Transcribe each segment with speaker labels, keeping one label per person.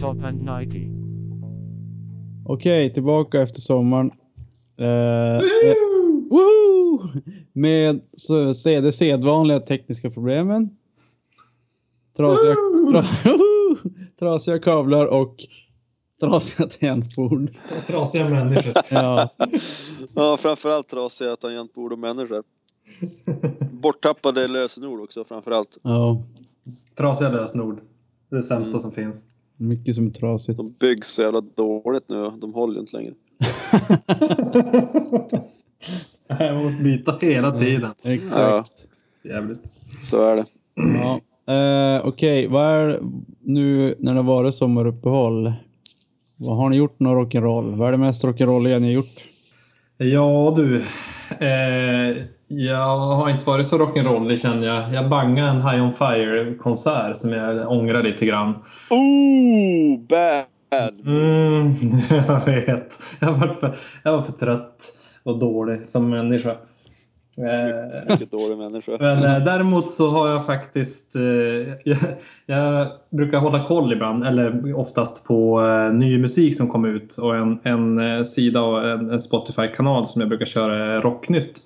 Speaker 1: Top and Nike.
Speaker 2: Okej, tillbaka efter sommaren. Eh, eh, woho! Med så, se, de sedvanliga tekniska problemen. Trasiga, tra, woho! trasiga kablar och trasiga tangentbord.
Speaker 3: Och trasiga människor.
Speaker 2: Ja,
Speaker 4: Ja, framförallt trasiga tangentbord och människor. Borttappade lösenord också framförallt.
Speaker 2: ja,
Speaker 3: Trasiga lösenord. Det är det sämsta som finns.
Speaker 2: mycket som är trasigt.
Speaker 4: De byggs så jävla dåligt nu. De håller ju inte längre.
Speaker 3: Nej, Man måste byta hela tiden.
Speaker 4: Ja,
Speaker 2: Exakt.
Speaker 3: Jävligt.
Speaker 4: så är det.
Speaker 2: Ja. Eh, Okej, vad är nu när det har varit sommaruppehåll? Vad har ni gjort någon rock'n'roll? Vad är det mest rock'n'rolliga ni har gjort?
Speaker 3: Ja du. Eh, jag har inte varit så rock'n'rollig känner jag. Jag bangade en High On Fire-konsert som jag ångrar lite grann.
Speaker 4: Oh, bad!
Speaker 3: Mm, jag vet. Jag var, för, jag var för trött och dålig som människa. Eh,
Speaker 4: Vilket dålig människa.
Speaker 3: Men eh, däremot så har jag faktiskt... Eh, jag, jag brukar hålla koll ibland, eller oftast, på eh, ny musik som kommer ut och en, en eh, sida och en, en Spotify-kanal som jag brukar köra eh, Rocknytt.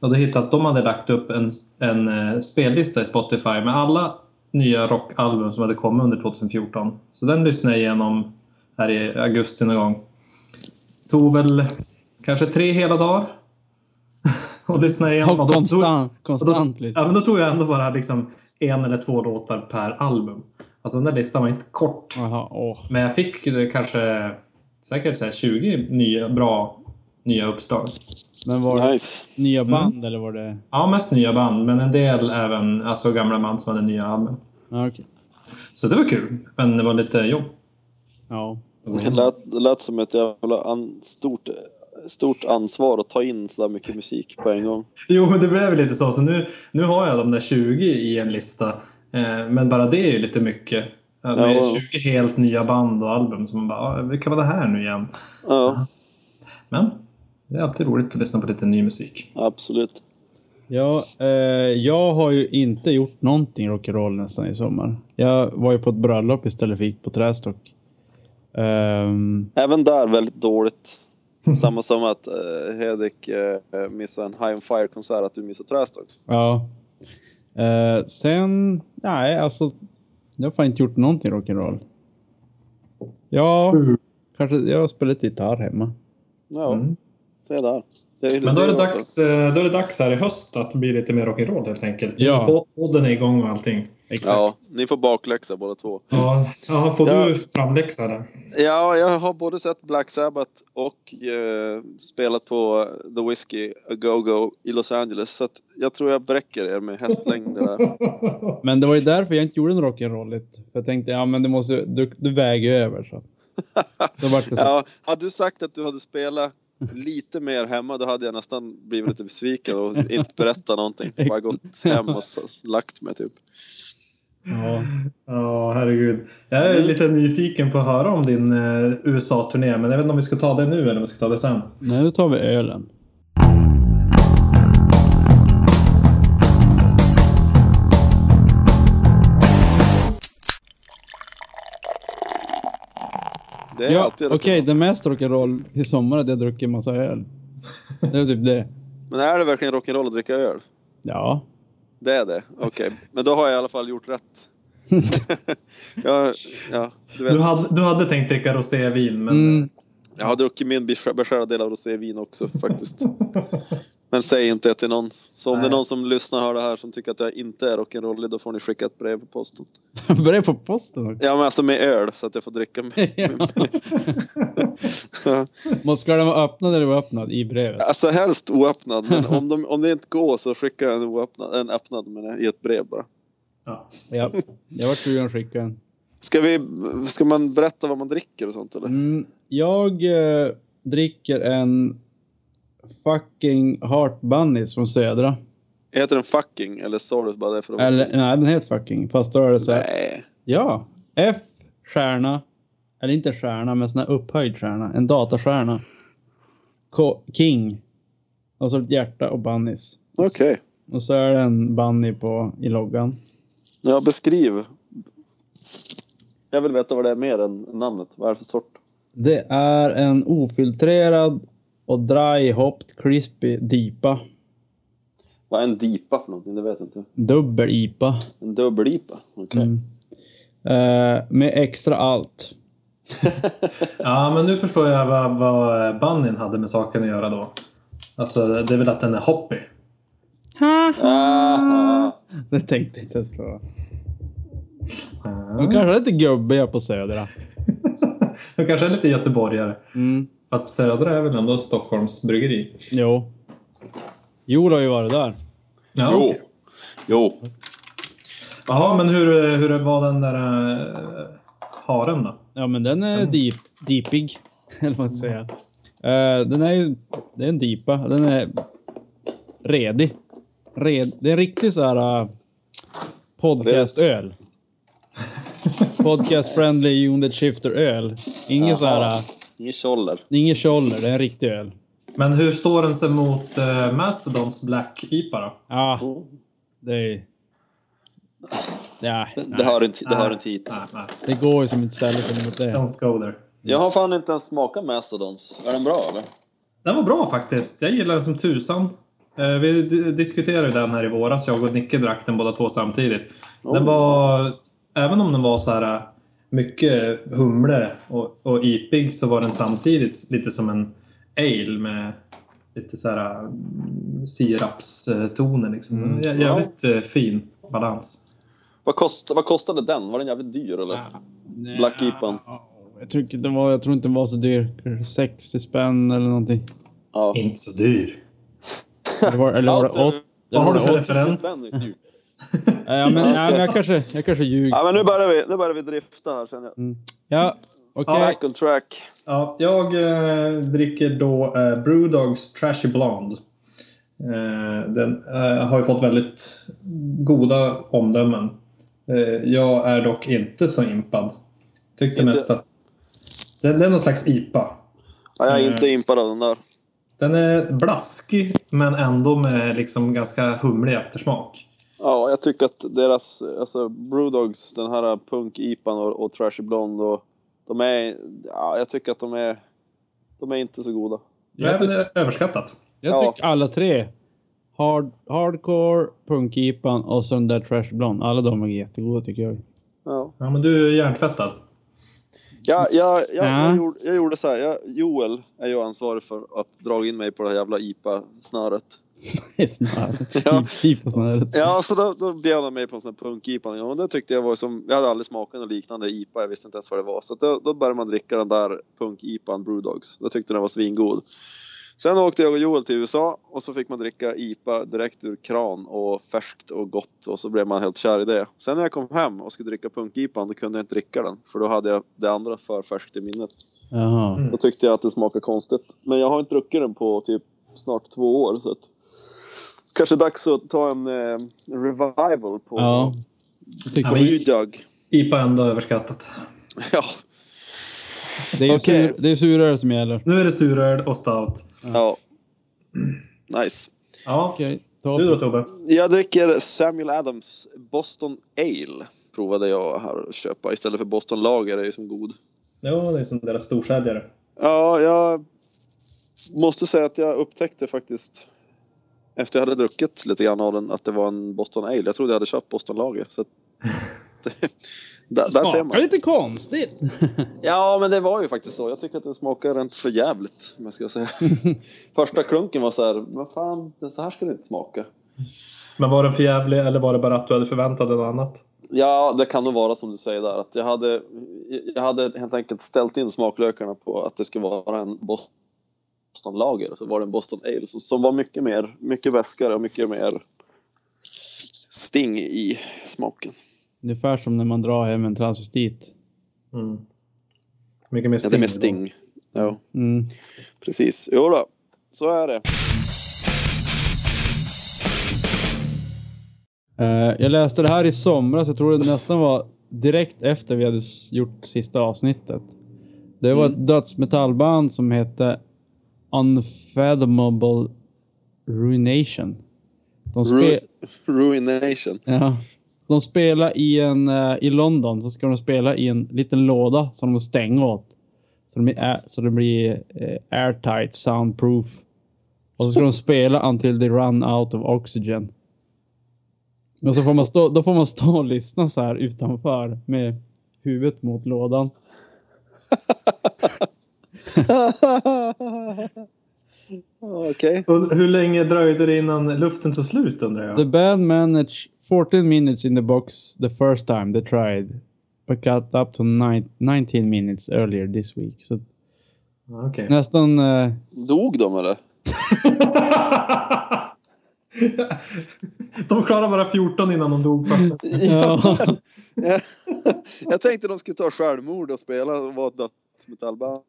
Speaker 3: Och då hittade jag att de hade lagt upp en, en eh, spellista i Spotify med alla nya rockalbum som hade kommit under 2014. Så den lyssnade jag igenom här i augusti någon gång. Tog väl kanske tre hela dagar. och lyssnade igenom.
Speaker 2: Och
Speaker 3: Och då-
Speaker 2: konstant,
Speaker 3: och då-
Speaker 2: konstant liksom.
Speaker 3: Ja, men då tog jag ändå bara liksom en eller två låtar per album. Alltså den där listan var inte kort.
Speaker 2: Jaha, åh.
Speaker 3: Men jag fick eh, kanske säkert så här 20 nya, bra nya uppslag.
Speaker 2: Men var det
Speaker 4: Nice.
Speaker 2: nya band eller var det...
Speaker 3: Ja, mest nya band, men en del även alltså gamla band som hade nya album.
Speaker 2: Ja, okej.
Speaker 3: Så det var kul, men det var lite jobb.
Speaker 2: Ja.
Speaker 4: Det lät, det lät som ett jävla an, stort, stort ansvar att ta in så där mycket musik på en gång.
Speaker 3: Jo, men det blev lite så. Så nu, nu har jag de där 20 i en lista. Eh, men bara det är ju lite mycket. Ja, Det
Speaker 4: Ja.
Speaker 3: är 20 helt nya band och album. Så man bara, "Ah, vilka var det här nu igen?
Speaker 4: Ja,
Speaker 3: Men det är alltid roligt att lyssna på lite ny musik.
Speaker 4: absolut.
Speaker 2: Ja, eh, jag har ju inte gjort någonting rock'n'roll nästan i sommar. Jag var ju på ett bröllop istället för gick på Trästock. Ehm,
Speaker 4: Även där väldigt dåligt. Samma som att eh, Hedek eh, missade en High On Fire-konsert, att du missade Trästock.
Speaker 2: ja. Eh, sen, nej alltså. Jag har fan inte gjort någonting rock'n'roll. Ja, kanske jag har spelat gitarr hemma.
Speaker 4: Ja,
Speaker 3: Mm.
Speaker 4: se där. Det är-
Speaker 3: Men då är, det
Speaker 4: är-
Speaker 3: dags, eh, då är det dags här i höst att bli lite mer rock'n'roll helt enkelt.
Speaker 2: Ja.
Speaker 3: Po- Podden är igång och allting.
Speaker 4: Ja, ni får bakläxa båda två.
Speaker 3: Ja, ja får
Speaker 4: Ja.
Speaker 3: du framläxa det?
Speaker 4: Ja, jag har både sett Black Sabbath och eh, spelat på The Whiskey A Go-Go i Los Angeles. Så att jag tror jag bräcker er med hästlängder där.
Speaker 2: Men det var ju därför jag inte gjorde en rock'n'rolligt. För jag tänkte, ja men det måste, du, du väger ju över. Så. Då vart det så.
Speaker 4: Ja, hade du sagt att du hade spelat lite mer hemma då hade jag nästan blivit lite besviken och inte berättat någonting. Bara gått hem och s- lagt mig typ.
Speaker 2: Ja.
Speaker 3: Ja, herregud. Jag är lite nyfiken på att höra om din eh, USA-turné, men jag vet inte om vi ska ta det nu eller om vi ska ta det sen.
Speaker 2: Nu tar vi ölen.
Speaker 4: Det är
Speaker 2: Ja,
Speaker 4: alltid
Speaker 2: okej, det mest rock'n'roll i sommar är att jag druckit en massa öl. Det är typ det.
Speaker 4: Men är det verkligen rock'n'roll att dricka öl?
Speaker 2: Ja.
Speaker 4: Det är det? Okej, men då har jag i alla fall gjort rätt. ja, ja, du vet.
Speaker 3: Du hade, du hade tänkt dricka rosévin, men...
Speaker 2: Mm.
Speaker 4: Jag har druckit min besk- beskärda del av rosévin också faktiskt. Men säg inte det till någon. Så om
Speaker 3: Nej.
Speaker 4: det är någon som lyssnar och hör det här som tycker att jag inte är rock'n'rollig då får ni skicka ett brev på posten. eh,
Speaker 2: Börja på posten också.
Speaker 4: Ja men alltså med öl så att jag får dricka med.
Speaker 2: Måste den vara öppnad eller oöppnad i brevet?
Speaker 4: Alltså helst oöppnad men om, de, om det inte går så skickar jag en oöppnad, en öppnad menar jag, i ett brev bara.
Speaker 3: Ja.
Speaker 2: Ja. Jag vart sugen att skicka en.
Speaker 4: Ska, vi, ska man berätta vad man dricker och sånt eller?
Speaker 2: Mm, jag eh, dricker en fucking Heart Bunnies från Södra.
Speaker 4: Heter den fucking eller sa du bara det för att vara-
Speaker 2: Eller nej, den heter fucking. Fast då är det så här.
Speaker 4: Nej.
Speaker 2: Ja. F stjärna. Eller inte stjärna, men sån här upphöjd stjärna. En datastjärna. K- King. Och så ett hjärta och bunnies.
Speaker 4: Okej.
Speaker 2: Och så är det en bunny på, i loggan.
Speaker 4: Ja beskriv. Jag vill veta vad det är mer än namnet. Vad är det för sort?
Speaker 2: Det är en ofiltrerad och dry hopped crispy dipa.
Speaker 4: Vad är en dipa för någonting? Det vet jag inte.
Speaker 2: Dubbel IPA.
Speaker 4: En dubbel-IPA? Okej.
Speaker 2: Mm. Eh, med extra allt.
Speaker 3: Ja, men nu förstår jag vad, vad Bunnin hade med saken att göra då. Alltså, det är väl att den är hoppig.
Speaker 4: Aha.
Speaker 2: Det tänkte jag inte ens på. De
Speaker 3: Ah.
Speaker 2: kanske är lite gubbiga på Södra.
Speaker 3: De kanske är lite göteborgare.
Speaker 2: Mm.
Speaker 3: Fast Södra är väl ändå Stockholms bryggeri?
Speaker 2: Jo. Joel har ju varit där.
Speaker 3: Ja,
Speaker 4: Jo.
Speaker 3: okej.
Speaker 4: Jo.
Speaker 3: Jaha, men hur, hur var den där eh, haren då?
Speaker 2: Ja, men den är
Speaker 3: Mm.
Speaker 2: deep, deepig. Eller vad man ska säga. Eh, den är ju... Det är en dipa. Den är redig. Red, det är en riktig så här eh, podcastöl. Podcast friendly unit shifter öl. Ingen så här...
Speaker 4: Jaha.
Speaker 2: eh,
Speaker 4: Ingen tjoller.
Speaker 2: det är ingen tjoller, det är en riktig öl.
Speaker 3: Men hur står den sig mot eh, Mastodons Black IPA då?
Speaker 2: Ja, det är... Ja,
Speaker 4: Det hör inte, det
Speaker 3: Nej.
Speaker 4: hör inte hit.
Speaker 3: Nej, nej.
Speaker 2: det går ju som inte ställe sig mot det.
Speaker 3: Don't go there.
Speaker 4: Jag har fan inte ens smakat Mastodons. Är den bra eller?
Speaker 3: Den var bra faktiskt. Jag gillar den som tusan. Eh, Vi di- diskuterade ju den här i våras. Jag och Nicke drack den båda två samtidigt. Den
Speaker 4: Oh.
Speaker 3: var, även om den var så här eh, mycket humle och, och ipig så var den samtidigt lite som en ale med lite så här mm, sirapstoner liksom.
Speaker 2: Mm.
Speaker 3: Jä- Jävligt eh, fin balans.
Speaker 4: Vad, kost, vad kostade den? Var den jävligt dyr eller? Black IPA'n.
Speaker 2: Jag tror, inte den var, jag tror inte den var så dyr. Kanske 60 spänn eller någonting.
Speaker 4: Ja.
Speaker 3: Inte så dyr.
Speaker 2: Eller var, eller var det åt,
Speaker 3: Vad har du
Speaker 2: eller var
Speaker 3: för
Speaker 2: det åt-
Speaker 3: referens?
Speaker 2: ja, men, ja, men jag kanske, jag kanske ljuger.
Speaker 4: Ja, men nu börjar vi, nu börjar vi drifta här känner jag.
Speaker 2: Ja, okej.
Speaker 4: Back on track.
Speaker 3: Ja, jag eh, dricker då eh, Brewdogs Trashy Blonde. Eh, den eh, har ju fått väldigt goda omdömen. Eh, jag är dock inte så impad. Tyckte
Speaker 4: Inte-
Speaker 3: mest att den, den är någon slags IPA.
Speaker 4: Ja, jag är
Speaker 3: Mm.
Speaker 4: inte impad av den där.
Speaker 3: Den är blaskig men ändå med liksom ganska humlig eftersmak.
Speaker 4: Ja, jag tycker att deras, alltså Brewdogs, den här punk-ipan och, och Trashy Blonde och de är, ja, jag tycker att de är, de är inte så goda.
Speaker 3: Det är
Speaker 2: Jag,
Speaker 3: väl
Speaker 2: ty-
Speaker 3: eh, överskattat.
Speaker 2: jag tycker alla tre. Hard, hardcore, punk ipan och så den där Trash Blonde. Alla de är jättegoda tycker jag.
Speaker 4: Ja.
Speaker 3: Ja, men du är hjärntvättad.
Speaker 4: Jag, jag, jag,
Speaker 2: Ja.
Speaker 4: jag, gjorde, jag gjorde så här, jag, Joel är ju ansvarig för att dra in mig på det här jävla IPA-snöret.
Speaker 2: Det är typ- snarare.
Speaker 4: Ja.
Speaker 2: Ipa-snöret.
Speaker 4: Ja, så då, då bjöd han mig på en sån här punk-IPA. Ja, och det tyckte jag var som, jag hade aldrig smakat något liknande IPA, jag visste inte ens vad det var. Så då, då började man dricka den där punk-IPAn Brewdogs. Då tyckte den var svingod. Sen åkte jag och Joel till USA och så fick man dricka IPA direkt ur kran och färskt och gott och så blev man helt kär i det. Sen när jag kom hem och skulle dricka punk-IPAn då kunde jag inte dricka den för då hade jag det andra för färskt i minnet.
Speaker 2: Jaha.
Speaker 3: Mm.
Speaker 4: Då tyckte jag att det smakade konstigt. Men jag har inte druckit den på typ snart två år. Så att... Kanske dags att ta en eh, revival på
Speaker 2: Ja. Tycker
Speaker 3: Ja,
Speaker 2: jag.
Speaker 3: men-
Speaker 4: Brewdog.
Speaker 3: IPA är ändå överskattat.
Speaker 4: Ja.
Speaker 2: Det är,
Speaker 4: Okej.
Speaker 2: sur, det är suröl som gäller.
Speaker 3: Nu är det suröl och stout.
Speaker 4: ja. Nice.
Speaker 3: Ja,
Speaker 2: Okej.
Speaker 3: du då
Speaker 2: Okay.
Speaker 3: Tobbe?
Speaker 4: Jag dricker Samuel Adams Boston Ale. Provade jag här att köpa istället för Boston Lager är ju som god.
Speaker 3: Ja, det är som deras storsäljare.
Speaker 4: Ja, jag måste säga att jag upptäckte faktiskt efter jag hade druckit lite grann av den att det var en Boston Ale. Jag trodde jag hade köpt Boston Lager. Så att, där, där ser
Speaker 2: Smakar
Speaker 4: man.
Speaker 2: lite konstigt.
Speaker 4: Ja, men det var ju faktiskt så. Jag tycker att den smakar rent för jävligt om jag ska säga. Första klunken var så här, vad fan, den så här ska det inte smaka.
Speaker 3: Men var den för jävlig eller var det bara att du hade förväntat dig något annat?
Speaker 4: Ja, det kan nog vara som du säger där. Att jag, hade, jag hade helt enkelt ställt in smaklökarna på att det skulle vara en Boston Lager. Så var det en Boston Ale som, som var mycket mer, mycket väskare och mycket mer sting i smaken.
Speaker 2: Ungefär som när man drar hem en transvestit.
Speaker 3: Mm. Mycket mer
Speaker 4: Ja,
Speaker 3: sting.
Speaker 4: det är mer sting. Ja,
Speaker 2: Mm.
Speaker 4: precis. Jo då, så är det.
Speaker 2: Eh, jag läste det här i somras, jag tror det nästan var direkt efter vi hade s- gjort sista avsnittet. Det var ett dödsmetallband som hette Unfathomable Ruination. De, spe-
Speaker 4: Ru- Ruination.
Speaker 2: ja, De spelar i, en, eh, i London, så ska de spela i en liten låda som de stänger åt. Så, de är, så det blir eh, airtight, soundproof. Och så ska de spela until they run out of oxygen. Och så får man stå, då får man stå och lyssna så här utanför med huvudet mot lådan.
Speaker 4: Okej.
Speaker 3: Und- Hur länge dröjde det innan luften tog slut undrar jag?
Speaker 2: The band managed 14 minutes in the box the first time they tried. But got up to nine, 19 minutes earlier this week. Så
Speaker 3: Ja, Ah, Okej.
Speaker 2: nästan... eh,
Speaker 4: Dog de eller?
Speaker 3: de klarade bara 14 innan de dog första.
Speaker 2: ja.
Speaker 4: jag tänkte de skulle ta självmord och spela och vara ett dödsmetallband.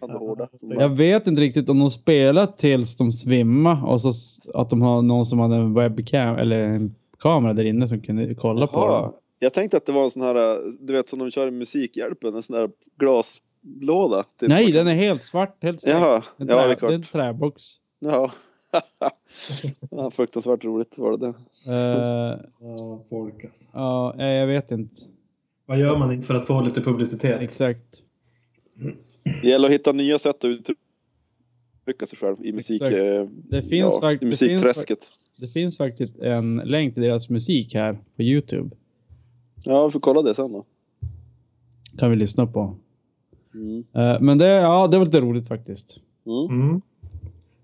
Speaker 4: Fan, det hårda.
Speaker 2: Jag vet inte riktigt om de spelar tills de svimmar och så s- att de har någon som hade en webcam eller en kamera där inne som kunde kolla på
Speaker 4: Jaha.
Speaker 2: dem.
Speaker 4: Jag tänkte att det var en sån här, du vet som de kör i Musikhjälpen, en sån här glaslåda. Typ.
Speaker 2: Nej, den är helt svart, helt svart.
Speaker 4: Jaha,
Speaker 2: en,
Speaker 4: ja det är
Speaker 2: trä, det är en
Speaker 4: klart.
Speaker 2: träbox.
Speaker 4: Ja. ja, fruktansvärt roligt var det. där.
Speaker 2: Eh,
Speaker 3: Ja, folk alltså.
Speaker 2: Ja, nej, jag vet inte
Speaker 3: Vad gör man inte för att få lite publicitet?
Speaker 2: exakt.
Speaker 4: Det gäller att hitta nya sätt att uttrycka sig själv i musik,
Speaker 2: Exakt.
Speaker 4: eh,
Speaker 2: Det finns,
Speaker 4: ja,
Speaker 2: fakt-
Speaker 4: i
Speaker 2: det, finns, fak-
Speaker 4: musikträsket.
Speaker 2: det finns faktiskt en länk till deras musik här på Youtube.
Speaker 4: Ja, vi får kolla det sen då.
Speaker 2: Kan vi lyssna på.
Speaker 4: Mm.
Speaker 2: Eh, men det, ja, det var lite roligt faktiskt.
Speaker 4: Mm.
Speaker 3: Mm.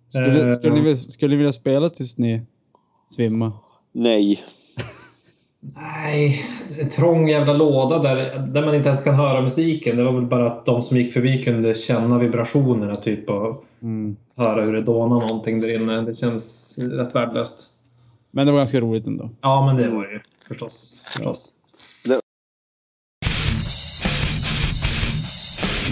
Speaker 2: Skulle,
Speaker 3: Eh,
Speaker 2: skulle, ni, vilja- skulle ni vilja spela tills ni svimmar?
Speaker 4: Nej.
Speaker 3: Nej, en trång jävla låda där, där man inte ens kan höra musiken. Det var väl bara att de som gick förbi kunde känna vibrationerna typ och
Speaker 2: Mm.
Speaker 3: höra hur det dånar någonting där inne. Det känns rätt värdelöst.
Speaker 2: Men det var ganska roligt ändå.
Speaker 3: Ja, men det var det ju förstås. förstås.
Speaker 4: Det-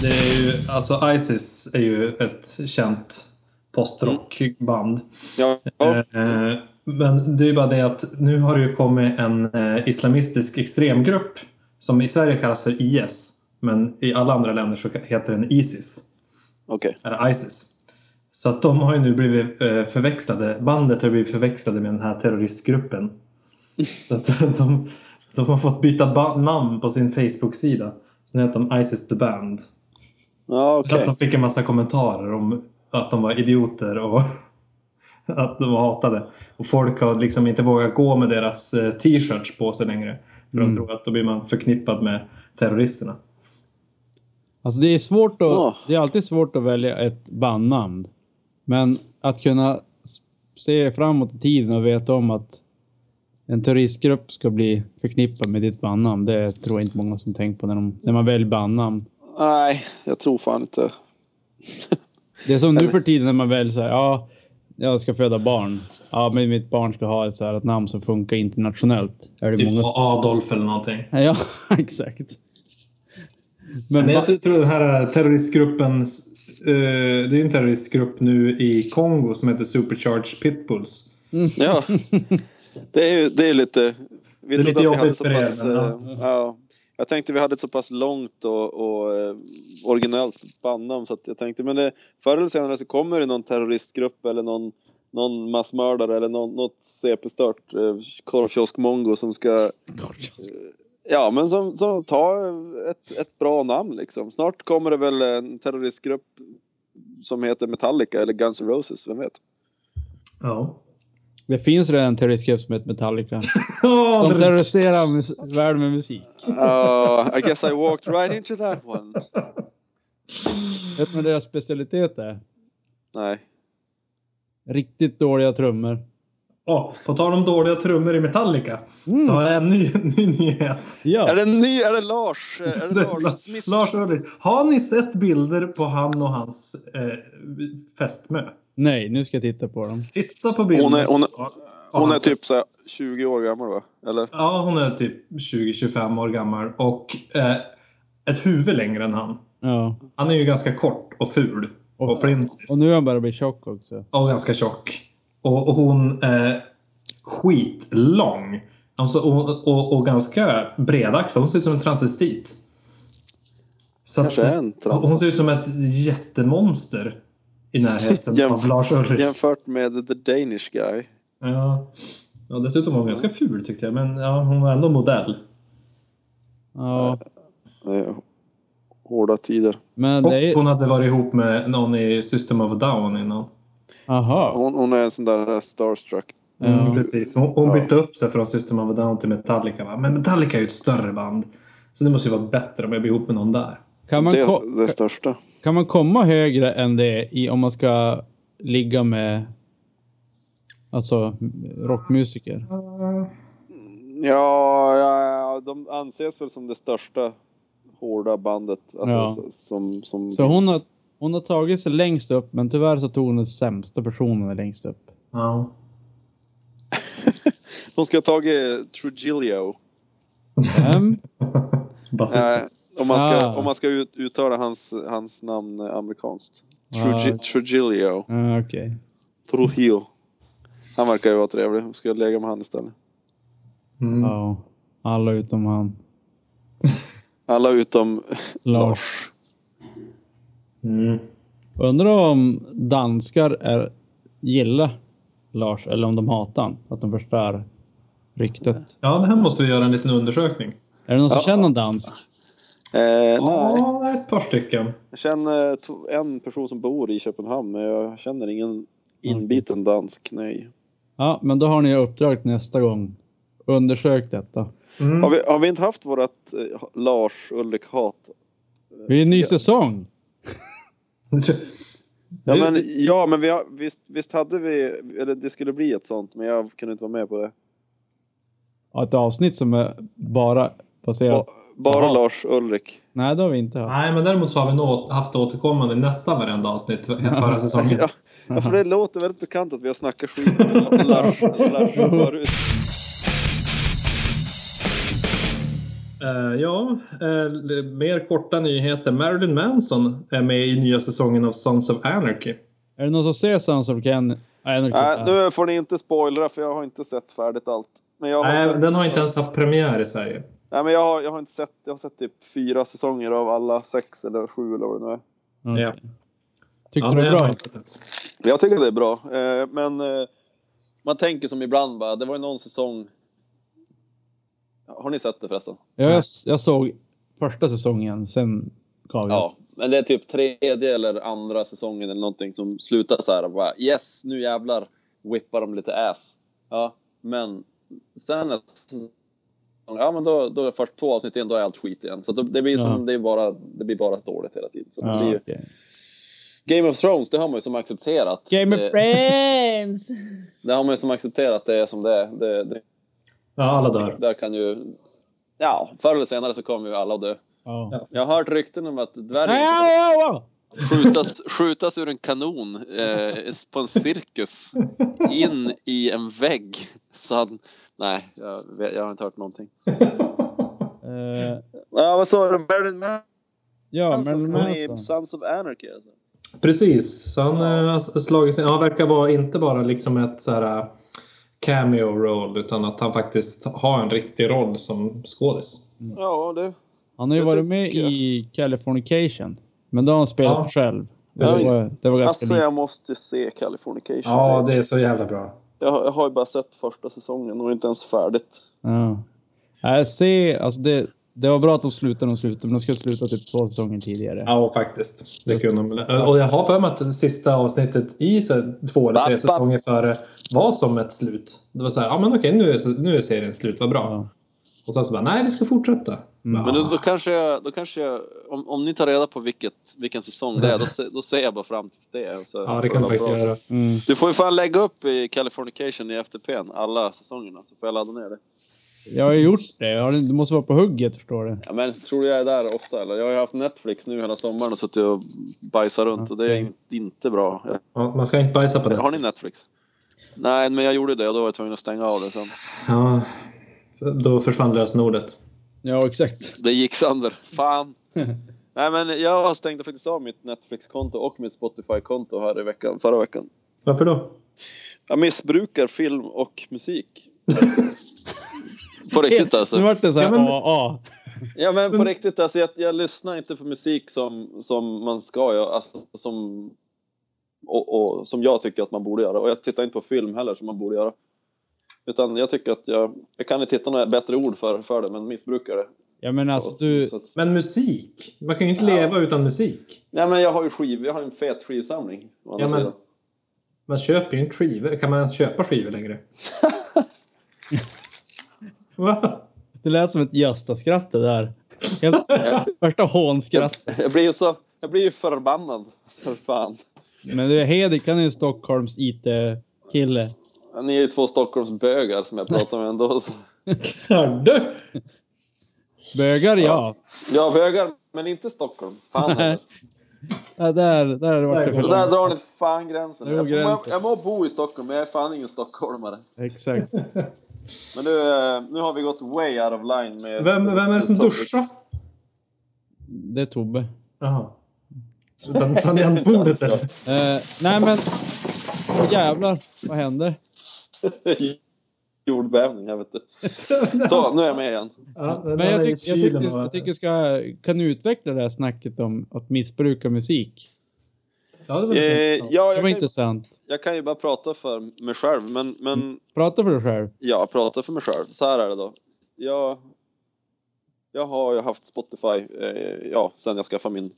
Speaker 3: Det är ju, alltså Isis är ju ett känt postrockband.
Speaker 4: Ja, ja.
Speaker 3: Eh, Men det är ju bara det att nu har det ju kommit en eh, islamistisk extremgrupp som i Sverige kallas för IS. Men i alla andra länder så heter den Isis.
Speaker 4: okej.
Speaker 3: Eller Isis. Så att de har ju nu blivit eh, förväxlade. Bandet har blivit förväxlade med den här terroristgruppen. Så att de, de har fått byta ba- namn på sin Facebook-sida. Så nu heter de Isis the Band.
Speaker 4: Ja,
Speaker 3: För
Speaker 4: okej.
Speaker 3: att de fick en massa kommentarer om att de var idioter och att de var hatade. Och folk har liksom inte vågat gå med deras eh, t-shirts på sig längre. För
Speaker 2: Mm.
Speaker 3: de tror att då blir man förknippad med terroristerna.
Speaker 2: Alltså det är svårt att,
Speaker 4: Ja.
Speaker 2: det är alltid svårt att välja ett bandnamn. Men att kunna s- se framåt i tiden och veta om att en terroristgrupp ska bli förknippad med ditt bandnamn, det tror jag inte många som tänker på när, de, när man väljer bandnamn.
Speaker 4: Nej, jag tror fan inte.
Speaker 2: Det är som nu för tiden när man väljer så här, ja, jag ska föda barn. Ja, men mitt barn ska ha ett, så här, ett namn som funkar internationellt. Är det
Speaker 3: Typ
Speaker 2: många som...
Speaker 3: Adolf eller någonting.
Speaker 2: Ja, exakt. Men,
Speaker 3: Men
Speaker 2: men
Speaker 3: jag tror- tror den här eh, terroristgruppen, eh, det är en terroristgrupp nu i Kongo som heter Supercharged Pitbulls.
Speaker 4: Ja. Det är ju det är lite... Vi
Speaker 3: Det är
Speaker 4: trodde
Speaker 3: lite
Speaker 4: att vi
Speaker 3: jobbigt
Speaker 4: hade så
Speaker 3: för er,
Speaker 4: pass,
Speaker 3: men ja.
Speaker 4: eh, ja. Jag tänkte vi hade ett så pass långt och, och eh, originellt bandnamn så att jag tänkte men det, förr eller senare så kommer det någon terroristgrupp eller någon, någon massmördare eller någon, något CP-stört eh, korvkiosk-mongo som ska Ja, men som, som tar ett, ett bra namn liksom. Snart kommer det väl en terroristgrupp som heter Metallica eller Guns N' Roses, vem vet?
Speaker 3: Ja.
Speaker 2: det finns redan en terroristgrupp som heter Metallica. De
Speaker 3: det-
Speaker 2: terroriserar mus- världen med musik.
Speaker 4: Uh, I guess I walked right into that one.
Speaker 2: Vet du vad deras specialitet är?
Speaker 4: Nej.
Speaker 2: Riktigt dåliga trummor.
Speaker 3: Åh, på tal om dåliga trummor i Metallica så har jag en ny, ny nyhet.
Speaker 4: Är
Speaker 2: Ja.
Speaker 4: det en ny, är det Lars? eh, Är det Lars Smith?
Speaker 3: Lars Ulrich, har ni sett bilder på han och hans eh, fästmö?
Speaker 2: Nej, nu ska jag titta på dem.
Speaker 3: Titta på bilden.
Speaker 4: Hon är- hon är-
Speaker 3: av
Speaker 4: Hon är
Speaker 3: hans-
Speaker 4: typ så här 20 år gammal va? Eller?
Speaker 3: Ja, hon är typ 20-25 år gammal och eh, ett huvud längre än han.
Speaker 2: Ja.
Speaker 3: Han är ju ganska kort och ful.
Speaker 2: Och-
Speaker 3: Och, flintis.
Speaker 2: Och nu har han börjat bli tjock också.
Speaker 3: Och ganska tjock. Och, och hon är skitlång. Alltså, och, och, och ganska bredaxlad. Hon ser ut som en transvestit. Så att,
Speaker 4: Kanske är en
Speaker 3: hon
Speaker 4: trans.
Speaker 3: ser ut som ett jättemonster i närheten
Speaker 4: Jäm-
Speaker 3: av Lars Ulrich.
Speaker 4: Jämfört med The Danish Guy.
Speaker 3: Ja. Ja, dessutom var hon ganska ful tyckte jag, men ja, hon var ändå modell.
Speaker 2: Ja,
Speaker 4: Det är Eh, hårda tider.
Speaker 2: men
Speaker 3: Och
Speaker 2: det är...
Speaker 3: hon hade varit ihop med någon i System of a Down innan.
Speaker 2: Aha.
Speaker 4: Hon, hon är en sån där eh, starstruck.
Speaker 3: Mm,
Speaker 2: Ja.
Speaker 3: precis. Hon, hon
Speaker 4: Ja.
Speaker 3: bytte upp sig från System of a Down till Metallica. Va? Men Metallica är ju ett större band. Så det måste ju vara bättre om jag blir ihop med någon där.
Speaker 2: Kan man,
Speaker 4: Det
Speaker 2: ko-
Speaker 4: är det största.
Speaker 2: kan man komma högre än det i, om man ska ligga med alltså rockmusiker?
Speaker 4: Ja, ja, ja, de anses väl som det största hårda bandet. Alltså,
Speaker 2: Ja.
Speaker 4: s- som, som
Speaker 2: Så hon
Speaker 4: finns.
Speaker 2: har, hon har tagit sig längst upp, men tyvärr så tog hon den sämsta personen längst upp.
Speaker 3: Ja.
Speaker 4: Hon ska ha tagit Trujillo.
Speaker 2: Vem?
Speaker 3: Basisten.
Speaker 4: Eh, om, man ska,
Speaker 2: Ah.
Speaker 4: om man ska ut, uttala hans, hans namn eh, amerikanskt.
Speaker 2: Ah.
Speaker 4: Trugi, Trujillo.
Speaker 2: Ah, Okej.
Speaker 4: Trujillo. Han verkar ju vara trevlig. Ska jag lägga med han istället?
Speaker 3: Mm.
Speaker 2: Ja. Alla utom han.
Speaker 4: Alla utom
Speaker 2: Lars.
Speaker 4: Lars.
Speaker 3: Mm.
Speaker 2: Undrar om danskar är, gillar Lars eller om de hatar han. Att de förstör ryktet.
Speaker 3: Ja, det här måste vi göra en liten undersökning.
Speaker 2: Är det någon som
Speaker 4: Ja.
Speaker 2: känner en dansk?
Speaker 4: Eh, nej,
Speaker 3: Ja, ett par stycken.
Speaker 4: jag känner to- en person som bor i Köpenhamn men jag känner ingen inbiten dansk, nej.
Speaker 2: Ja, men då har ni uppdrag till nästa gång. Undersök detta.
Speaker 4: Har
Speaker 3: Mm.
Speaker 4: vi, har vi inte haft vårat eh, Lars Ulrik-hat?
Speaker 2: Vi är en ny
Speaker 4: Ja.
Speaker 2: säsong.
Speaker 4: Ja
Speaker 3: Det-
Speaker 4: men, ja, men vi har, visst, visst hade vi, eller det skulle bli ett sånt men jag kunde inte vara med på det.
Speaker 2: Ja, ett avsnitt som är bara baserat.
Speaker 4: Ba- Bara
Speaker 2: Jaha.
Speaker 4: Lars Ulrik.
Speaker 2: Nej, det har vi inte haft.
Speaker 3: Nej, men däremot så har vi nå- haft återkommande nästan varenda avsnitt förra säsongen.
Speaker 4: Ja, ja, för det låter väldigt bekant att vi har snackat skit om Lars, Lars förut.
Speaker 3: Eh, ja, eh, mer korta nyheter. Marilyn Manson är med i nya säsongen av Sons of Anarchy.
Speaker 2: Är det någon som ser Sons of Ken? Nej,
Speaker 4: Nej, nu får ni inte spoilra för jag har inte sett färdigt allt. Men jag har,
Speaker 3: Nej,
Speaker 4: sett,
Speaker 3: den har inte ens haft premiär i Sverige.
Speaker 4: Nej, men jag har, jag har inte sett, jag har sett typ fyra säsonger av alla sex eller sju eller vad det nu är.
Speaker 2: Okej.
Speaker 3: Ja.
Speaker 2: Tyckte
Speaker 3: Ja,
Speaker 2: du det var
Speaker 3: den har jag
Speaker 2: bra?
Speaker 3: inte sett.
Speaker 4: Jag tycker det är bra, eh, men eh, man tänker som ibland bara, det var ju någon säsong. Har ni sett det förresten?
Speaker 2: Ja, jag, jag såg första säsongen, sen gav jag.
Speaker 4: Ja, men det är typ tredje eller andra säsongen eller någonting som slutar så här och bara yes, nu jävlar whippar de lite ass. Ja, men sen att- Ja, men då, då är först två avsnitt in, då är allt skit igen. Så då, det blir som
Speaker 2: Ja.
Speaker 4: det är bara, det blir bara dåligt hela tiden. Så det
Speaker 2: Ja,
Speaker 4: blir ju,
Speaker 2: okej.
Speaker 4: Game of Thrones, det har man ju som accepterat.
Speaker 2: Game
Speaker 4: det,
Speaker 2: of Friends!
Speaker 4: det har man ju som accepterat, det är som det är. Det, det,
Speaker 3: Ja, alla dör.
Speaker 4: där kan ju... Ja, förr eller senare så kommer ju alla dö.
Speaker 2: Ja.
Speaker 3: Ja.
Speaker 4: Jag har hört rykten om att dvärgen
Speaker 2: Ja, ja,
Speaker 4: skjutas, skjutas ur en kanon eh, på en cirkus in i en vägg. Så han, nej, jag, vet- jag har inte hört någonting.
Speaker 2: ja. Eh,
Speaker 4: Ja, vad sa du? Marilyn Manson
Speaker 2: ja,
Speaker 4: ska
Speaker 2: men
Speaker 4: vara med i
Speaker 2: Manson.
Speaker 4: Sons of Anarchy alltså.
Speaker 3: Precis, så han eh, har slagit sig. Han verkar vara inte bara liksom ett så här eh, cameo roll utan att han faktiskt har en riktig roll som skådis.
Speaker 4: Mm. Ja, du.
Speaker 2: Han har ju
Speaker 4: Det
Speaker 2: varit
Speaker 4: tycker
Speaker 2: med
Speaker 4: jag.
Speaker 2: i Californication. Men då har han spelat
Speaker 3: Ja.
Speaker 2: sig själv. Det
Speaker 3: Precis.
Speaker 2: var, det var ganska
Speaker 4: Alltså
Speaker 2: likt.
Speaker 4: jag måste se Californication.
Speaker 3: Ja, det är så jävla bra.
Speaker 4: jag, har- jag har ju bara sett första säsongen och inte ens färdigt.
Speaker 2: Ja. Nej, se, alltså det, det var bra att de slutade när de slutade, men de skulle sluta typ två säsonger tidigare.
Speaker 3: Ja, faktiskt. Det kunde de. Eh, Och jag har för mig att det sista avsnittet i så här två eller tre
Speaker 4: Bapp, bapp.
Speaker 3: säsonger före var som ett slut. Det var så här, ja men okej nu är, nu är serien slut, vad bra.
Speaker 2: Ja.
Speaker 3: Och sen så bara, nej vi ska fortsätta.
Speaker 2: Mm.
Speaker 4: Men då, då
Speaker 3: Ja.
Speaker 4: kanske jag, då kanske jag om, om ni tar reda på vilket, vilken säsong det är, då, se- då ser jag bara fram till det. och Så,
Speaker 3: "Ah, Ja, det kan du faktiskt
Speaker 4: Bra.
Speaker 3: göra.
Speaker 2: Mm.
Speaker 4: Du får ju fan lägga upp i Californication i FTPn alla säsongerna så får jag ladda ner det.
Speaker 2: Jag har ju gjort det. Jag har, du måste vara på hugget, förstår du.
Speaker 4: Ja, men tror du jag är där ofta eller? Jag har ju haft Netflix nu hela sommaren och suttit och bajsat runt och det är in, inte bra. Jag-
Speaker 3: Ja, man ska inte bajsa på det.
Speaker 4: Har ni Netflix? Nej, men jag gjorde det och då var jag tvungen att stänga av det sen.
Speaker 3: Ja, då försvann lösenordet.
Speaker 2: Ja, exakt.
Speaker 4: Det gick sönder. Fan! Nej, men jag stängde faktiskt av mitt Netflix-konto och mitt Spotify-konto här i veckan, förra veckan.
Speaker 3: Varför då?
Speaker 4: Jag missbrukar film och musik. På riktigt alltså.
Speaker 2: Nu vart det såhär
Speaker 3: Ja, men-
Speaker 2: AA.
Speaker 4: Ja men på riktigt, alltså, jag, jag lyssnar inte på musik som, som man ska göra, alltså, som, och, och, som jag tycker att man borde göra. Och jag tittar inte på film heller som man borde göra. Utan jag tycker att jag, jag kan inte hitta några bättre ord för, för det, men missbrukar det.
Speaker 2: Ja men alltså du,
Speaker 4: Så att-
Speaker 3: Men musik? Man kan ju inte
Speaker 4: Ja.
Speaker 3: leva utan musik.
Speaker 4: nej men jag har ju skiv, jag har ju en fet skivsamling. å andra
Speaker 3: Ja, men-
Speaker 4: sidan.
Speaker 3: Man köper ju en skiva. Kan man ens köpa skivor längre? Va?
Speaker 2: det lät som ett Gösta-skratt det där. Helt värsta hånskratt.
Speaker 4: Jag blir ju så, jag blir ju förbannad. För fan.
Speaker 2: Men det är Hedik, han är ju Stockholms IT-kille.
Speaker 4: Ni är ju två Stockholmsbögar som jag pratar med ändå. Så.
Speaker 3: Hörde?
Speaker 2: Bögar ja.
Speaker 4: Ja, bögar, men inte Stockholm. Fan heller.
Speaker 2: ja där, där har det varit
Speaker 3: Där
Speaker 2: för
Speaker 3: går
Speaker 4: Och Där
Speaker 2: långt.
Speaker 4: drar ni fan gränsen.
Speaker 2: Det är
Speaker 4: Jag, får- jag,
Speaker 2: gränsen.
Speaker 4: jag må bo i Stockholm, men jag är fan ingen stockholmare.
Speaker 2: Exakt.
Speaker 4: Men nu, eh, nu har vi gått way out of line med...
Speaker 3: Vem, vem är det som duschar?
Speaker 2: Det är Tobbe.
Speaker 3: Jaha. Utan tangentbordet eller?
Speaker 2: Eh, nej men, Åh, jävlar vad händer?
Speaker 4: Jordbävning, jag vet inte. Så, nu är jag med igen.
Speaker 3: Ja,
Speaker 2: Men
Speaker 3: den är
Speaker 2: jag, tyck,
Speaker 3: i
Speaker 2: jag, tycker,
Speaker 3: kylen och-
Speaker 2: jag tycker du ska, kan du utveckla det här snacket om att missbruka musik?
Speaker 3: Ja, det var lite
Speaker 4: Eh,
Speaker 3: intressant.
Speaker 2: Det
Speaker 4: ja,
Speaker 2: var
Speaker 4: jag, kan, ju-
Speaker 2: intressant.
Speaker 4: jag kan ju bara prata för mig själv, men, men
Speaker 2: Prata för dig själv.
Speaker 4: ja, prata för mig själv. Så här är det då. Jag, jag har ju haft Spotify eh, ja, sen jag skaffade min,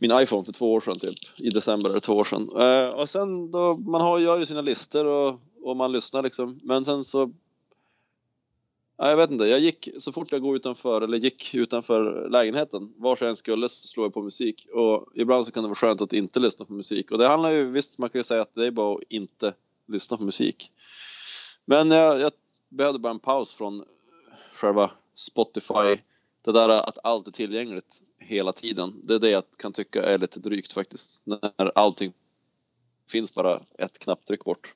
Speaker 4: min iPhone för två år sedan typ. I december eller två år sedan. Eh, och sen då, man har, gör ju sina listor och, och man lyssnar liksom. Men sen så Ja, jag vet inte, jag gick, så fort jag går utanför, eller gick utanför lägenheten, var jag än skulle så slår jag på musik. Och ibland så kan det vara skönt att inte lyssna på musik. Och det handlar ju, visst man kan ju säga att det är bara att inte lyssna på musik. Men eh, jag, jag behövde bara en paus från själva Spotify. Det där att allt är tillgängligt hela tiden. Det är det jag kan tycka är lite drygt faktiskt. När allting finns bara ett knapptryck bort.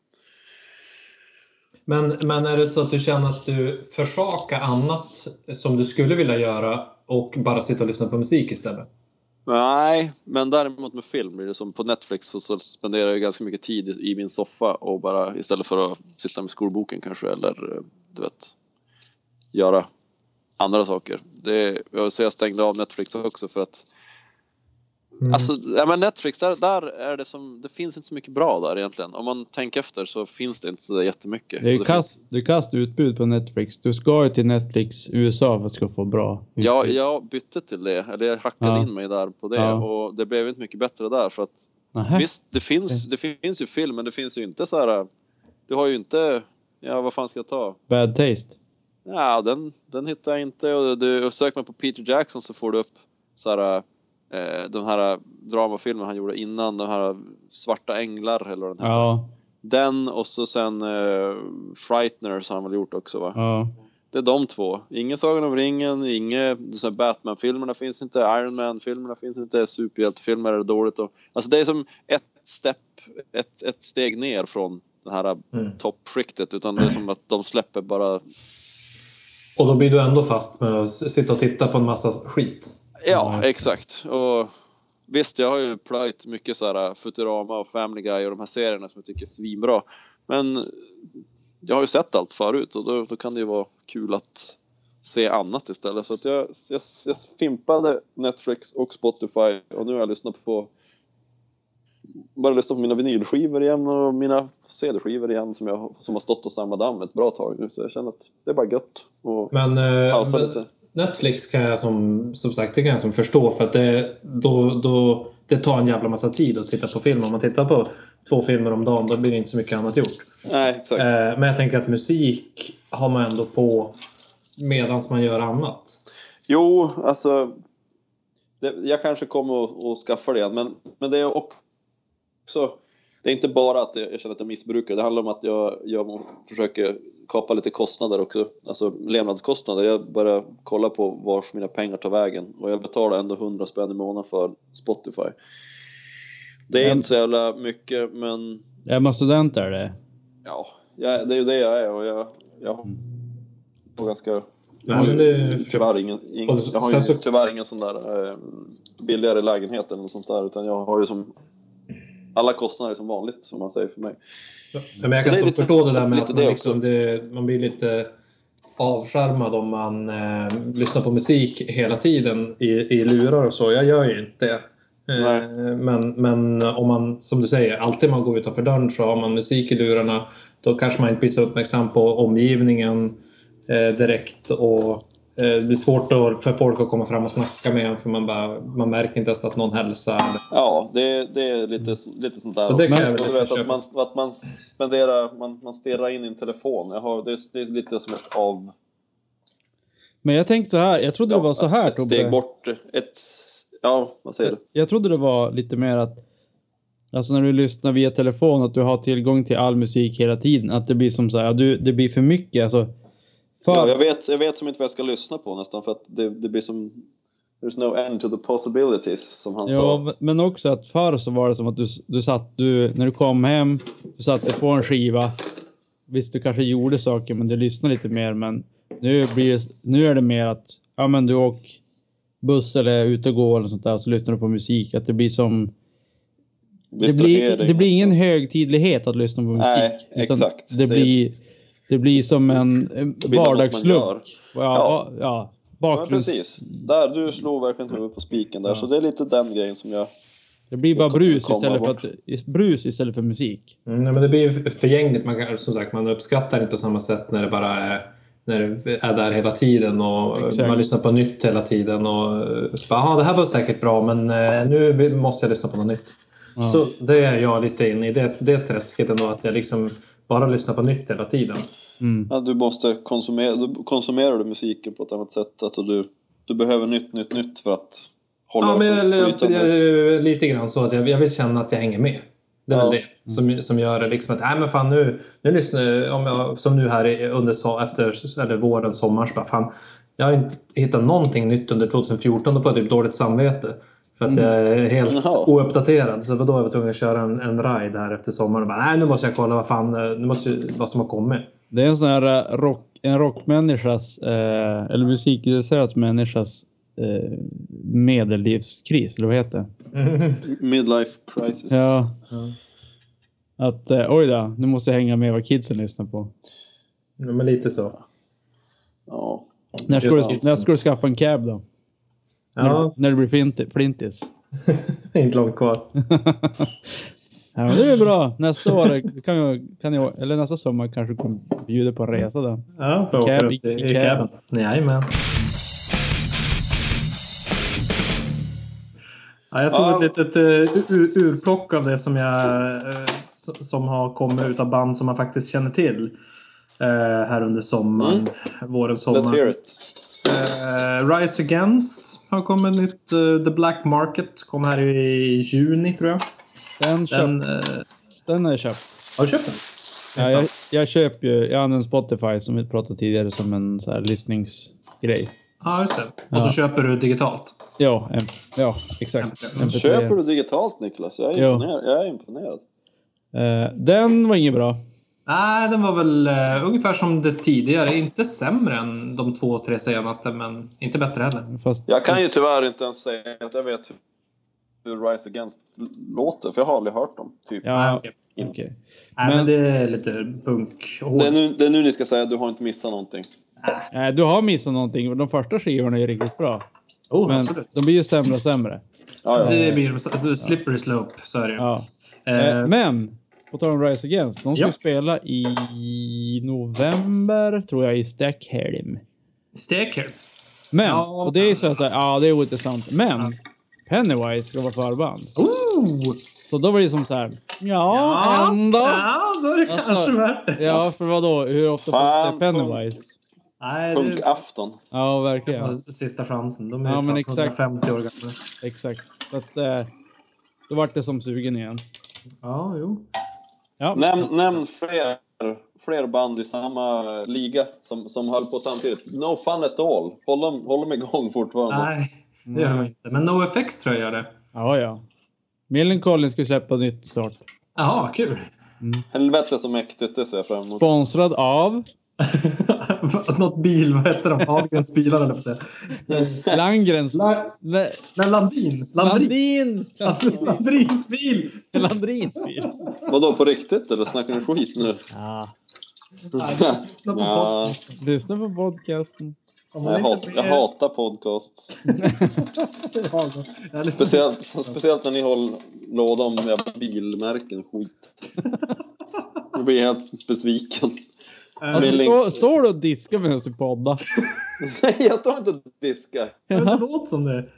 Speaker 3: Men, men är det så att du känner att du försakar annat som du skulle vilja göra och bara sitta och lyssna på musik istället?
Speaker 4: Nej, men däremot med film blir det som på Netflix så, så spenderar jag ganska mycket tid i, i min soffa och bara istället för att sitta med skolboken kanske eller eh, du vet göra andra saker. Det, jag, så jag stängde av Netflix också för att
Speaker 3: Mm.
Speaker 4: Alltså, ja, men Netflix, där, där är det som, det finns inte så mycket bra där egentligen. Om man tänker efter så finns det inte så där jättemycket.
Speaker 2: Det är ju
Speaker 4: Och
Speaker 2: kast, det är kast utbud på Netflix. Du ska ju till Netflix USA för att ska få bra utbud.
Speaker 4: Ja, jag bytte till det, eller jag hackade
Speaker 2: Ja.
Speaker 4: in mig där på det
Speaker 2: Ja.
Speaker 4: och det blev inte mycket bättre där för att
Speaker 2: Nähä.
Speaker 4: Visst, det finns, det finns ju film, men det finns ju inte så här. Du har ju inte. Ja, vad fan ska jag ta?
Speaker 2: Bad taste.
Speaker 4: Ja, den, den hittar jag inte. Och du, och söker man på Peter Jackson så får du upp så här. Eh, den här dramafilmen han gjorde innan, den här Svarta Änglar eller vad den här.
Speaker 2: Ja,
Speaker 4: Den och så sen eh, Frighteners har han väl gjort också va?
Speaker 2: ja.
Speaker 4: Det är de två. Ingen Sagan om ringen, inga så här Batman-filmerna finns inte, Iron Man-filmerna finns inte, superhjältefilmer är dåligt. Och, alltså det är som ett, step, ett, ett steg ner från det här
Speaker 3: Mm.
Speaker 4: toppskiktet utan det är som att de släpper bara...
Speaker 3: Och då blir du ändå fast med att s- sitta och titta på en massa skit.
Speaker 4: Ja,
Speaker 2: Mm.
Speaker 4: exakt. Och, visst, jag har ju plöjt mycket så här äh, Futurama och Family Guy och de här serierna som jag tycker är svinbra. Men jag har ju sett allt förut och då, då kan det ju vara kul att se annat istället. Så att jag, jag, jag fimpade Netflix och Spotify och nu har jag lyssnat på bara lyssnat på mina vinylskivor igen och mina CD-skivor igen som, jag, som har stått och samlat damm ett bra tag nu. Så jag känner att det är bara gött att
Speaker 3: Men, eh,
Speaker 4: pausa
Speaker 3: men
Speaker 4: lite.
Speaker 3: Netflix kan jag som, som sagt det kan jag som förstå för att det, då, då, det tar en jävla massa tid att titta på film. Om man tittar på två filmer om dagen då blir det inte så mycket annat gjort.
Speaker 4: Nej, exakt.
Speaker 3: Eh, men jag tänker att musik har man ändå på medan man gör annat.
Speaker 4: Jo, alltså. Det, jag kanske kommer att, att skaffa det igen, men, men det är också... Det är inte bara att jag, jag känner att jag missbrukar, det handlar om att jag, jag försöker kapa lite kostnader också. Alltså levnadskostnader. Jag börjar kolla på vars mina pengar tar vägen och jag betalar ändå 100 spänn i månaden för Spotify. Det är
Speaker 2: Men-
Speaker 4: inte så jävla mycket, men
Speaker 2: Är man student är det.
Speaker 4: ja, jag, det är ju det jag är och jag, jag har ganska
Speaker 3: Nej, men det,
Speaker 4: tyvärr ingen, ingen,
Speaker 3: Och så-
Speaker 4: jag har ju
Speaker 3: sen så-
Speaker 4: tyvärr ingen sån där eh, billigare lägenhet eller något sånt där utan jag har ju som alla kostnader är som vanligt som man säger för mig.
Speaker 3: Ja, men jag kan
Speaker 4: Det är
Speaker 3: så
Speaker 4: lite-
Speaker 3: förstå det där med
Speaker 4: lite
Speaker 3: att
Speaker 4: det
Speaker 3: man,
Speaker 4: också.
Speaker 3: liksom, det, man blir lite avskärmad om man eh, lyssnar på musik hela tiden i, i lurar och så. Jag gör ju inte det.
Speaker 4: Nej.
Speaker 3: Eh, Men, men om man, som du säger, alltid man går utanför dörren så har man musik i lurarna. Då kanske man inte blir så uppmärksam på omgivningen eh, direkt. Och, eh, det blir svårt då för folk att komma fram och snacka med en för man, bara, man märker inte ens att någon hälsar.
Speaker 4: Ja, det, det är lite, lite sånt där.
Speaker 3: Så det kan
Speaker 4: också.
Speaker 3: jag väl
Speaker 4: du vet,
Speaker 3: köpa.
Speaker 4: att man, att man spenderar, man, man stirrar in i en telefon. Jag har, det, är, det är lite som ett av...
Speaker 2: Men jag tänkte så här, jag trodde det var så här
Speaker 4: Ett steg
Speaker 2: Tobbe.
Speaker 4: bort. Ett... Ja, vad säger du?
Speaker 2: Jag trodde det var lite mer att, alltså när du lyssnar via telefon, att du har tillgång till all musik hela tiden. Att det blir som så här, ja, du, det blir för mycket. Alltså, för,
Speaker 4: Ja, jag, vet, jag vet som inte vad jag ska lyssna på nästan för att det, det blir som... There's no end to the possibilities, som han sa.
Speaker 2: Ja, men också att förr så var det som att du, du satt, du, när du kom hem, du satte på en skiva. Visst, du kanske gjorde saker, men du lyssnade lite mer. Men nu, blir det, nu är det mer att, ja men du åker buss eller är ute och går eller sånt där, och så lyssnar du på musik. Att det blir som, det blir,
Speaker 4: Distrahering.
Speaker 2: det blir ingen högtidlighet att lyssna på musik.
Speaker 4: Nej,
Speaker 2: utan
Speaker 4: exakt.
Speaker 2: Det,
Speaker 4: Det-
Speaker 2: blir, det blir som en en
Speaker 4: blir något man
Speaker 2: vardagslunk.
Speaker 4: gör.
Speaker 2: Ja, ja. ja
Speaker 4: Ja, men
Speaker 2: bakgrunds...
Speaker 4: precis. Där, du slog verkligen huvudet på spiken där,
Speaker 2: Ja.
Speaker 4: så det är lite den grejen som jag...
Speaker 2: Det blir bara
Speaker 4: Jag kommer
Speaker 2: brus
Speaker 4: komma
Speaker 2: istället, för
Speaker 4: bort.
Speaker 2: att, brus istället för musik.
Speaker 3: Mm, nej, men det blir ju förgängligt. Man, kan- som sagt, man uppskattar inte på samma sätt när det bara är när det är där hela tiden och
Speaker 2: Exakt.
Speaker 3: man lyssnar på nytt hela tiden. Och eh, bara, "Ah, det här var säkert bra men eh, nu vill- måste jag lyssna på något nytt.
Speaker 2: Ja.
Speaker 3: Så det är jag lite inne i det, det träsket ändå att jag liksom bara lyssnar på nytt hela tiden.
Speaker 2: Mm.
Speaker 4: Ja, du måste konsumera, du konsumerar du musiken på ett annat sätt. Alltså du, du behöver nytt, nytt, nytt för att hålla
Speaker 3: Ja, men
Speaker 4: dig på
Speaker 3: jag, jag,
Speaker 4: flytande.
Speaker 3: jag, lite grann så att jag, jag vill känna att jag hänger med. Det är väl
Speaker 4: Ja.
Speaker 3: det som, som gör det liksom att, nej men fan nu, nu lyssnar jag, om jag, som nu här i- under so- efter, eller våren, sommaren, så bara fan, jag har inte hittat någonting nytt under 2014, då får jag typ dåligt samvete. För att jag är helt
Speaker 4: Mm. Jaha.
Speaker 3: ouppdaterad. Så då var jag tvungen att köra en, en ride här efter sommaren och bara, nej nu måste jag kolla vad fan, eh, nu måste jag, vad som har kommit.
Speaker 2: Det är en sån här eh, rock, en rockmänniskas, eh, eller musikintresserad människas eh, medellivskris, eller vad heter det?
Speaker 4: Mm. Midlife crisis.
Speaker 2: Ja.
Speaker 3: Ja.
Speaker 2: Att eh, oj då, nu måste jag hänga med vad kidsen lyssnar på.
Speaker 3: Ja, men lite så.
Speaker 4: Ja.
Speaker 2: När ska,
Speaker 3: Just
Speaker 2: du,
Speaker 3: kidsen.
Speaker 2: när ska du skaffa en cab då?
Speaker 4: Mm.
Speaker 3: Ja,
Speaker 2: När, när du blir flinti- flintis?
Speaker 3: inte långt kvar.
Speaker 2: Ja, men det är bra. Nästa år kan jag, kan jag, eller nästa sommar kanske du kommer bjuda på en resa då.
Speaker 3: Ja, får jag
Speaker 2: Cab,
Speaker 3: åka
Speaker 2: i-
Speaker 3: runt i,
Speaker 2: i
Speaker 3: i
Speaker 2: caben.
Speaker 3: caben. Jajamän. Ja, jag tog
Speaker 4: Ja.
Speaker 3: ett litet eh, ur, urplock av det som, jag, eh, s- som har kommit ut av band som man faktiskt känner till. eh, Här under sommaren, våren,
Speaker 4: Let's hear
Speaker 3: sommaren.
Speaker 4: it.
Speaker 3: Eh, Rise Against har kommit nytt. eh, The Black Market kom här i juni tror jag.
Speaker 2: Den, köp,
Speaker 3: Den, eh,
Speaker 2: den har jag köpt.
Speaker 3: har du köpt den?
Speaker 2: Ja, jag, jag köper ju, jag använder Spotify som vi pratade tidigare som en så här lyssningsgrej.
Speaker 3: Ja, just det. Och
Speaker 2: Ja.
Speaker 3: så köper du digitalt.
Speaker 2: Ja, em- ja exakt. MP3.
Speaker 4: Köper du digitalt Niklas? Jag är,
Speaker 2: Ja.
Speaker 4: imponerad. Jag är imponerad.
Speaker 2: Eh, den var ingen bra.
Speaker 3: Nej, den var väl eh, ungefär som det tidigare. Inte sämre än de två, tre senaste, men inte bättre heller.
Speaker 2: Fast
Speaker 4: Jag kan ju tyvärr inte ens säga att jag vet hur Rise Against låter, för jag har aldrig hört dem. Typ.
Speaker 3: Nej,
Speaker 2: Ja,
Speaker 3: okej.
Speaker 2: okej.
Speaker 3: Nej, men,
Speaker 2: Men-
Speaker 3: det är lite punk.
Speaker 4: Det, är nu, det är nu ni ska säga att du har inte missat någonting.
Speaker 2: Nej, Eh, du har missat någonting. De första skivorna är ju riktigt bra.
Speaker 3: oh,
Speaker 2: Men
Speaker 3: absolut.
Speaker 2: de blir ju sämre och sämre.
Speaker 4: Ja, ja.
Speaker 3: Det blir alltså, slippery slope, så är det ju.
Speaker 2: Ja.
Speaker 3: Eh,
Speaker 2: Eh, Men, på tal om Rise Against. De ska
Speaker 3: ja.
Speaker 2: ju spela i november, tror jag, i Stackhelm.
Speaker 3: Steker.
Speaker 2: Men,
Speaker 3: Ja.
Speaker 2: och det är ju så här, så här, ja det är ointressant. Men, Pennywise ska vara förband.
Speaker 3: Oh!
Speaker 2: Så då var det ju som så här, ja, ändå.
Speaker 3: Ja, då är det
Speaker 2: Alltså,
Speaker 3: kanske värt det.
Speaker 2: Ja, för vadå? Hur ofta får man se
Speaker 4: Fan,
Speaker 2: Pennywise?
Speaker 3: Nej, det
Speaker 4: Punkafton.
Speaker 2: Ja, verkligen.
Speaker 3: är sista chansen. De är
Speaker 2: Ja,
Speaker 3: ja,
Speaker 2: men
Speaker 3: fan
Speaker 2: exakt.
Speaker 3: 150 år gamla.
Speaker 2: Exakt. Så att, eh, då vart det som sugen igen.
Speaker 3: Ja, jo.
Speaker 2: Ja.
Speaker 4: Nämn, nämn fler, fler band i samma liga som, som höll på samtidigt. No fun at all. Håll dem, håll dem igång fortfarande.
Speaker 3: Nej, det
Speaker 2: Mm.
Speaker 3: gör de inte. Men NoFX tror jag gör det.
Speaker 2: Ja, ja. Millencolin ska ju släppa nytt snart.
Speaker 3: Jaha, kul.
Speaker 4: Helvete så mäktigt, det ser jag fram emot.
Speaker 2: Sponsrad av
Speaker 3: Något bil, vad heter de? Ahlgrens bilar eller på sig.
Speaker 2: Landgrens...
Speaker 3: La-
Speaker 2: Le-
Speaker 3: Nej, Landin. Landrin.
Speaker 2: Landin!
Speaker 3: Landrins bil!
Speaker 2: Landrins bil.
Speaker 4: Vadå, på riktigt eller snackar ni skit nu?
Speaker 2: Ja.
Speaker 3: Nej, lyssna på
Speaker 4: Ja.
Speaker 3: podcasten.
Speaker 2: Lyssna på podcasten.
Speaker 3: Om man
Speaker 4: Jag,
Speaker 3: inte
Speaker 4: hat, jag
Speaker 3: blir-
Speaker 4: hatar podcasts.
Speaker 3: Ja, jag lyssnar-
Speaker 4: Speciellt, speciellt när ni håller låda om era bilmärken och skit. Jag blir helt besviken.
Speaker 3: Eh,
Speaker 2: Alltså,
Speaker 4: Billing.
Speaker 2: stå, står du och diskar medan du poddar?
Speaker 4: Nej, jag står inte och diskar.
Speaker 3: men det låter som det.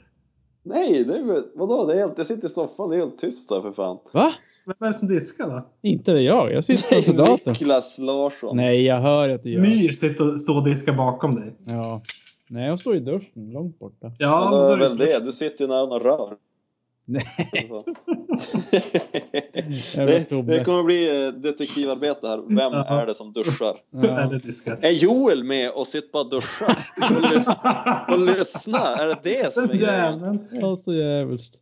Speaker 4: Nej, det är väl, vadå? Det är helt, jag sitter i soffan, det är helt tyst här för fan.
Speaker 2: Va?
Speaker 3: Vem är det som diskar då?
Speaker 2: Inte det jag. Jag sitter framför datorn.
Speaker 4: Niklas Larsson.
Speaker 2: Nej, jag hör att du gör.
Speaker 3: Myr sitter och står och diskar bakom dig.
Speaker 2: Ja. Nej, jag står i duschen långt borta.
Speaker 3: Ja,
Speaker 4: Ja,
Speaker 3: men då
Speaker 4: det är
Speaker 3: är
Speaker 4: väl det.
Speaker 3: plus.
Speaker 4: Du sitter ju nära några rör.
Speaker 2: Nej. Jävla
Speaker 4: det,
Speaker 2: Tobbe.
Speaker 4: det kommer bli eh, detektivarbete här. Vem
Speaker 3: Ja.
Speaker 4: är det som duschar?
Speaker 2: Ja.
Speaker 3: Eller diskar.
Speaker 4: Är Joel med och sitter bara och duschar? Och, ly- och lyssnar? Är det det som är
Speaker 3: Den
Speaker 4: grejen?
Speaker 3: jäveln.
Speaker 2: Ja, så jävligt.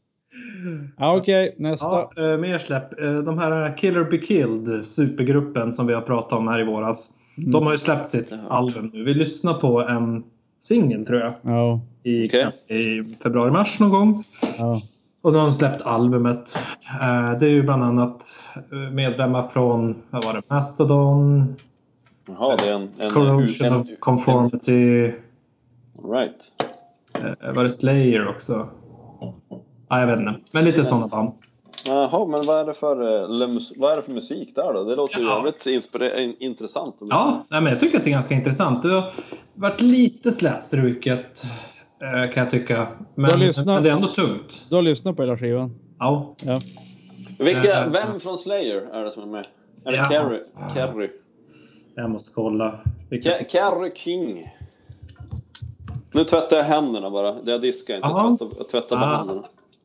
Speaker 2: Ja, Okej, nästa.
Speaker 3: Ja, eh, mer släpp. Eh, De här Killer Be Killed, supergruppen som vi har pratat om här i våras.
Speaker 2: Mm.
Speaker 3: De har ju släppt sitt
Speaker 4: Det har jag
Speaker 3: album nu. Vi lyssnar på en singel tror jag.
Speaker 2: Ja.
Speaker 3: I,
Speaker 4: Okej.
Speaker 3: i februari-mars någon gång.
Speaker 2: ja.
Speaker 3: Och nu har de släppt albumet. Eh, Det är ju bland annat eh, medlemmar från vad var det, Mastodon,
Speaker 4: Jaha, det är en... en
Speaker 3: Corrosion
Speaker 4: en-
Speaker 3: of Conformity,
Speaker 4: All Right.
Speaker 3: eh, var det Slayer också? Ja, jag vet inte. Men lite sådana band.
Speaker 4: Jaha, men vad är, det för, eh, lemus- vad är det för musik där då? Det låter ju
Speaker 3: Ja.
Speaker 4: jävligt inspire- in- intressant.
Speaker 3: Ja, nej, men jag tycker att det är ganska intressant. Det har varit lite slätstruket eh, kan jag tycka. Men,
Speaker 2: Jag lyssnar.
Speaker 3: men det är ändå tungt.
Speaker 2: Du har lyssnat på hela skivan?
Speaker 3: Ja.
Speaker 2: Ja.
Speaker 4: Vilka, vem från Slayer är det som är med? Är det
Speaker 3: Eh. Ja.
Speaker 4: Carrie? Carrie?
Speaker 3: Jag måste kolla. Vilka
Speaker 4: Ka-
Speaker 3: som-
Speaker 4: Carrie King. Nu tvättar jag händerna bara. Det Jag diskar inte.
Speaker 3: Jaha.
Speaker 4: Jag tvättar, jag tvättar bara
Speaker 3: Ah.
Speaker 4: händerna.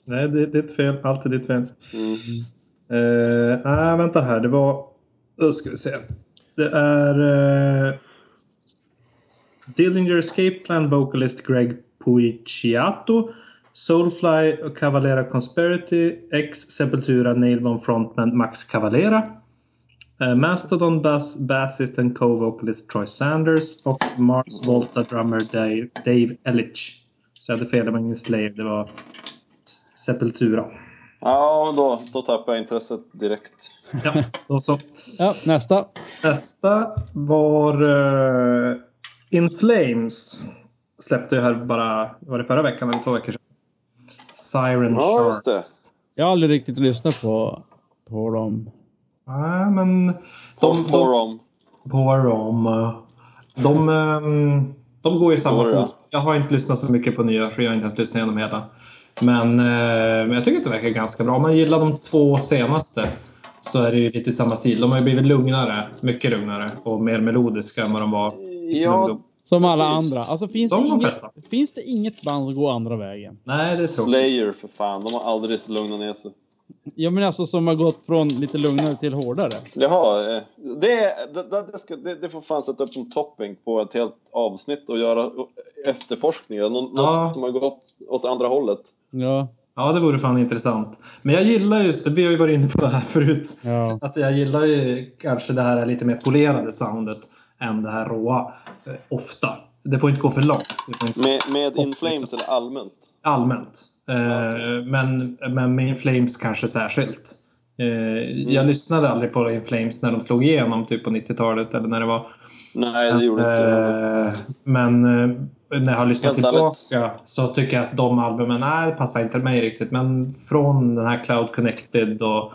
Speaker 3: Nej, det, det är ditt fel. Allt är ditt fel.
Speaker 4: Mm.
Speaker 3: Eh, nej, vänta här. Det var... Då ska vi se. Det är... eh, Dillinger Escape Plan Vocalist Greg Puicciato. Soulfly och Cavalera Conspiracy. Ex Sepultura Nailbomb Frontman Max Cavalera. eh, Mastodon Bass, Bassist and Co-Vocalist Troy Sanders. Och Mars Volta Drummer Dave, Dave Ellich. Så jag hade fel, det var ingen Slayer. Det var Sepultura.
Speaker 4: Ja, då, då tappar jag intresset direkt.
Speaker 3: Ja, då så.
Speaker 2: Ja, nästa.
Speaker 3: Nästa var eh, In Flames. Släppte ju här bara, var det förra veckan eller två veckor sedan? Siren
Speaker 4: Ja,
Speaker 3: Shark.
Speaker 4: just det.
Speaker 2: Jag har aldrig riktigt lyssnat på, på dem.
Speaker 3: Nej, men
Speaker 4: De,
Speaker 3: de,
Speaker 4: på
Speaker 3: de,
Speaker 4: dem.
Speaker 3: på dem. eh, De, ehm, de går i samma
Speaker 4: Går det,
Speaker 3: fot. Jag har inte lyssnat så mycket på nya så jag har inte ens lyssnat igenom hela. Men, eh, men jag tycker att det verkar ganska bra. Om man gillar de två senaste så är det ju lite samma stil. De har ju blivit lugnare, mycket lugnare och mer melodiska än vad de var i sin
Speaker 4: Ja,
Speaker 3: ungdom.
Speaker 2: Som alla
Speaker 4: Precis.
Speaker 2: andra. Alltså, finns,
Speaker 3: Som
Speaker 2: det
Speaker 3: de flesta.
Speaker 2: inget, finns det inget band som går andra vägen?
Speaker 3: Nej, det är tråkigt.
Speaker 4: Slayer för fan. De har aldrig lugnat ner sig.
Speaker 2: Ja, men alltså som har gått från lite lugnare till hårdare.
Speaker 4: Jaha, eh, det, det, det, det, ska, det, det får fan sätta upp som topping på ett helt avsnitt och göra efterforskningar. Nå,
Speaker 3: Ja.
Speaker 4: Något som har gått åt andra hållet.
Speaker 2: Ja.
Speaker 3: Ja, det vore fan intressant. Men jag gillar ju, vi har ju varit inne på det här förut,
Speaker 2: Ja.
Speaker 3: att jag gillar ju kanske det här lite mer polerade soundet än det här råa. eh, Ofta. Det får inte gå för långt. Det får inte
Speaker 4: Med, med
Speaker 3: Topping,
Speaker 4: In Flames
Speaker 3: liksom.
Speaker 4: eller allmänt?
Speaker 3: allmänt. Eh, Men, men med In Flames kanske särskilt. Eh, Jag lyssnade aldrig på In Flames när de slog igenom typ på 90-talet eller när det var.
Speaker 4: Nej, det gjorde inte jag.
Speaker 3: Eh, Men eh, när jag har lyssnat
Speaker 4: Helt ärligt.
Speaker 3: tillbaka så tycker jag att de albumen är, passar inte mig riktigt. Men från den här Cloud Connected och,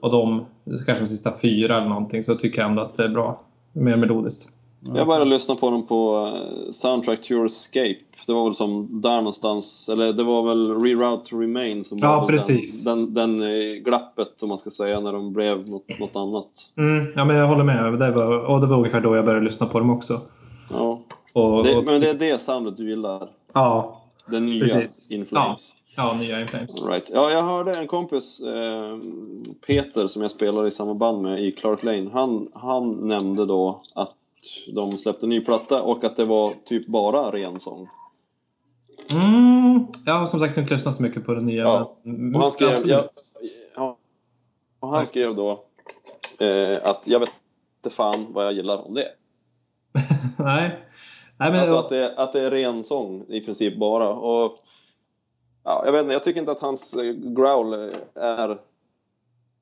Speaker 3: och de, kanske de sista fyra eller någonting, så tycker jag ändå att det är bra. Mer melodiskt.
Speaker 4: Jag började lyssna på dem på eh, Soundtrack to Your Escape. Det var väl som där någonstans, eller det var väl Reroute to Remain som
Speaker 3: Ja,
Speaker 4: var väl
Speaker 3: precis.
Speaker 4: Den, den, den eh, glappet om man ska säga när de blev något, något annat.
Speaker 3: Mm, ja, men jag håller med. Det var, och det var ungefär då jag började lyssna på dem också.
Speaker 4: Ja.
Speaker 3: Och,
Speaker 4: Det,
Speaker 3: och,
Speaker 4: men det är det soundet du gillar?
Speaker 3: ja,
Speaker 4: Den nya
Speaker 3: Precis.
Speaker 4: In Flames?
Speaker 3: ja, nya In Flames.
Speaker 4: All Right. Ja, jag hörde en kompis, eh, Peter, som jag spelar i samma band med i Clark Lane. Han, han nämnde då att de släppte en ny platta och att det var typ bara ren sång.
Speaker 3: Mm, jag har som sagt inte lyssnat så mycket på den nya.
Speaker 4: Ja,
Speaker 3: men-
Speaker 4: Och han skrev,
Speaker 3: Absolut.
Speaker 4: ja, ja, och han skrev då eh, att jag vet inte fan vad jag gillar om det.
Speaker 3: Nej. Nej, men,
Speaker 4: Alltså att det, att det är ren sång i princip bara. Och, ja, jag, vet inte, jag tycker inte att eh, hans eh, growl är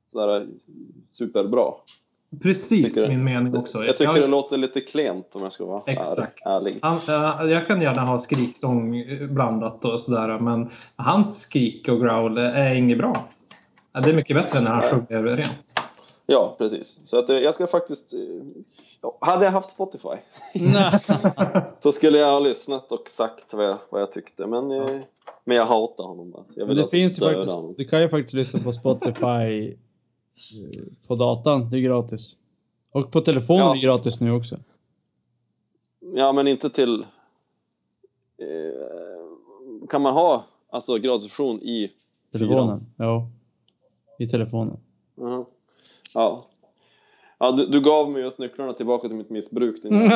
Speaker 4: sådär eh, superbra.
Speaker 3: Precis
Speaker 4: Tycker du?
Speaker 3: min mening också.
Speaker 4: Jag tycker
Speaker 3: Jag-
Speaker 4: det låter lite klent om jag ska vara är-
Speaker 3: Exakt.
Speaker 4: ärlig.
Speaker 3: Han, eh, jag kan gärna ha skriksång eh, blandat och sådär men hans skrik och growl är inget bra. Ja, Det är mycket bättre när han
Speaker 4: Nej.
Speaker 3: sjunger rent.
Speaker 4: Ja, precis. Så att eh, jag ska faktiskt... eh, Ja, hade jag haft Spotify
Speaker 2: Nej.
Speaker 4: så skulle jag ha lyssnat och sagt vad jag, vad jag tyckte. Men, eh, men jag hatar honom bara. Jag
Speaker 2: Men det
Speaker 4: alltså
Speaker 2: finns ju
Speaker 4: döda
Speaker 2: faktiskt,
Speaker 4: honom.
Speaker 2: du kan ju faktiskt lyssna på Spotify eh, på datan. Det är gratis. Och på telefonen
Speaker 4: Ja.
Speaker 2: är det gratis nu också.
Speaker 4: Ja, men inte till... Eh, kan man ha alltså, gradsoption i...
Speaker 2: Telefonen. Ja. I telefonen.
Speaker 4: Jaha. Ja. ja du, du gav mig just nycklarna tillbaka till mitt missbruk. Din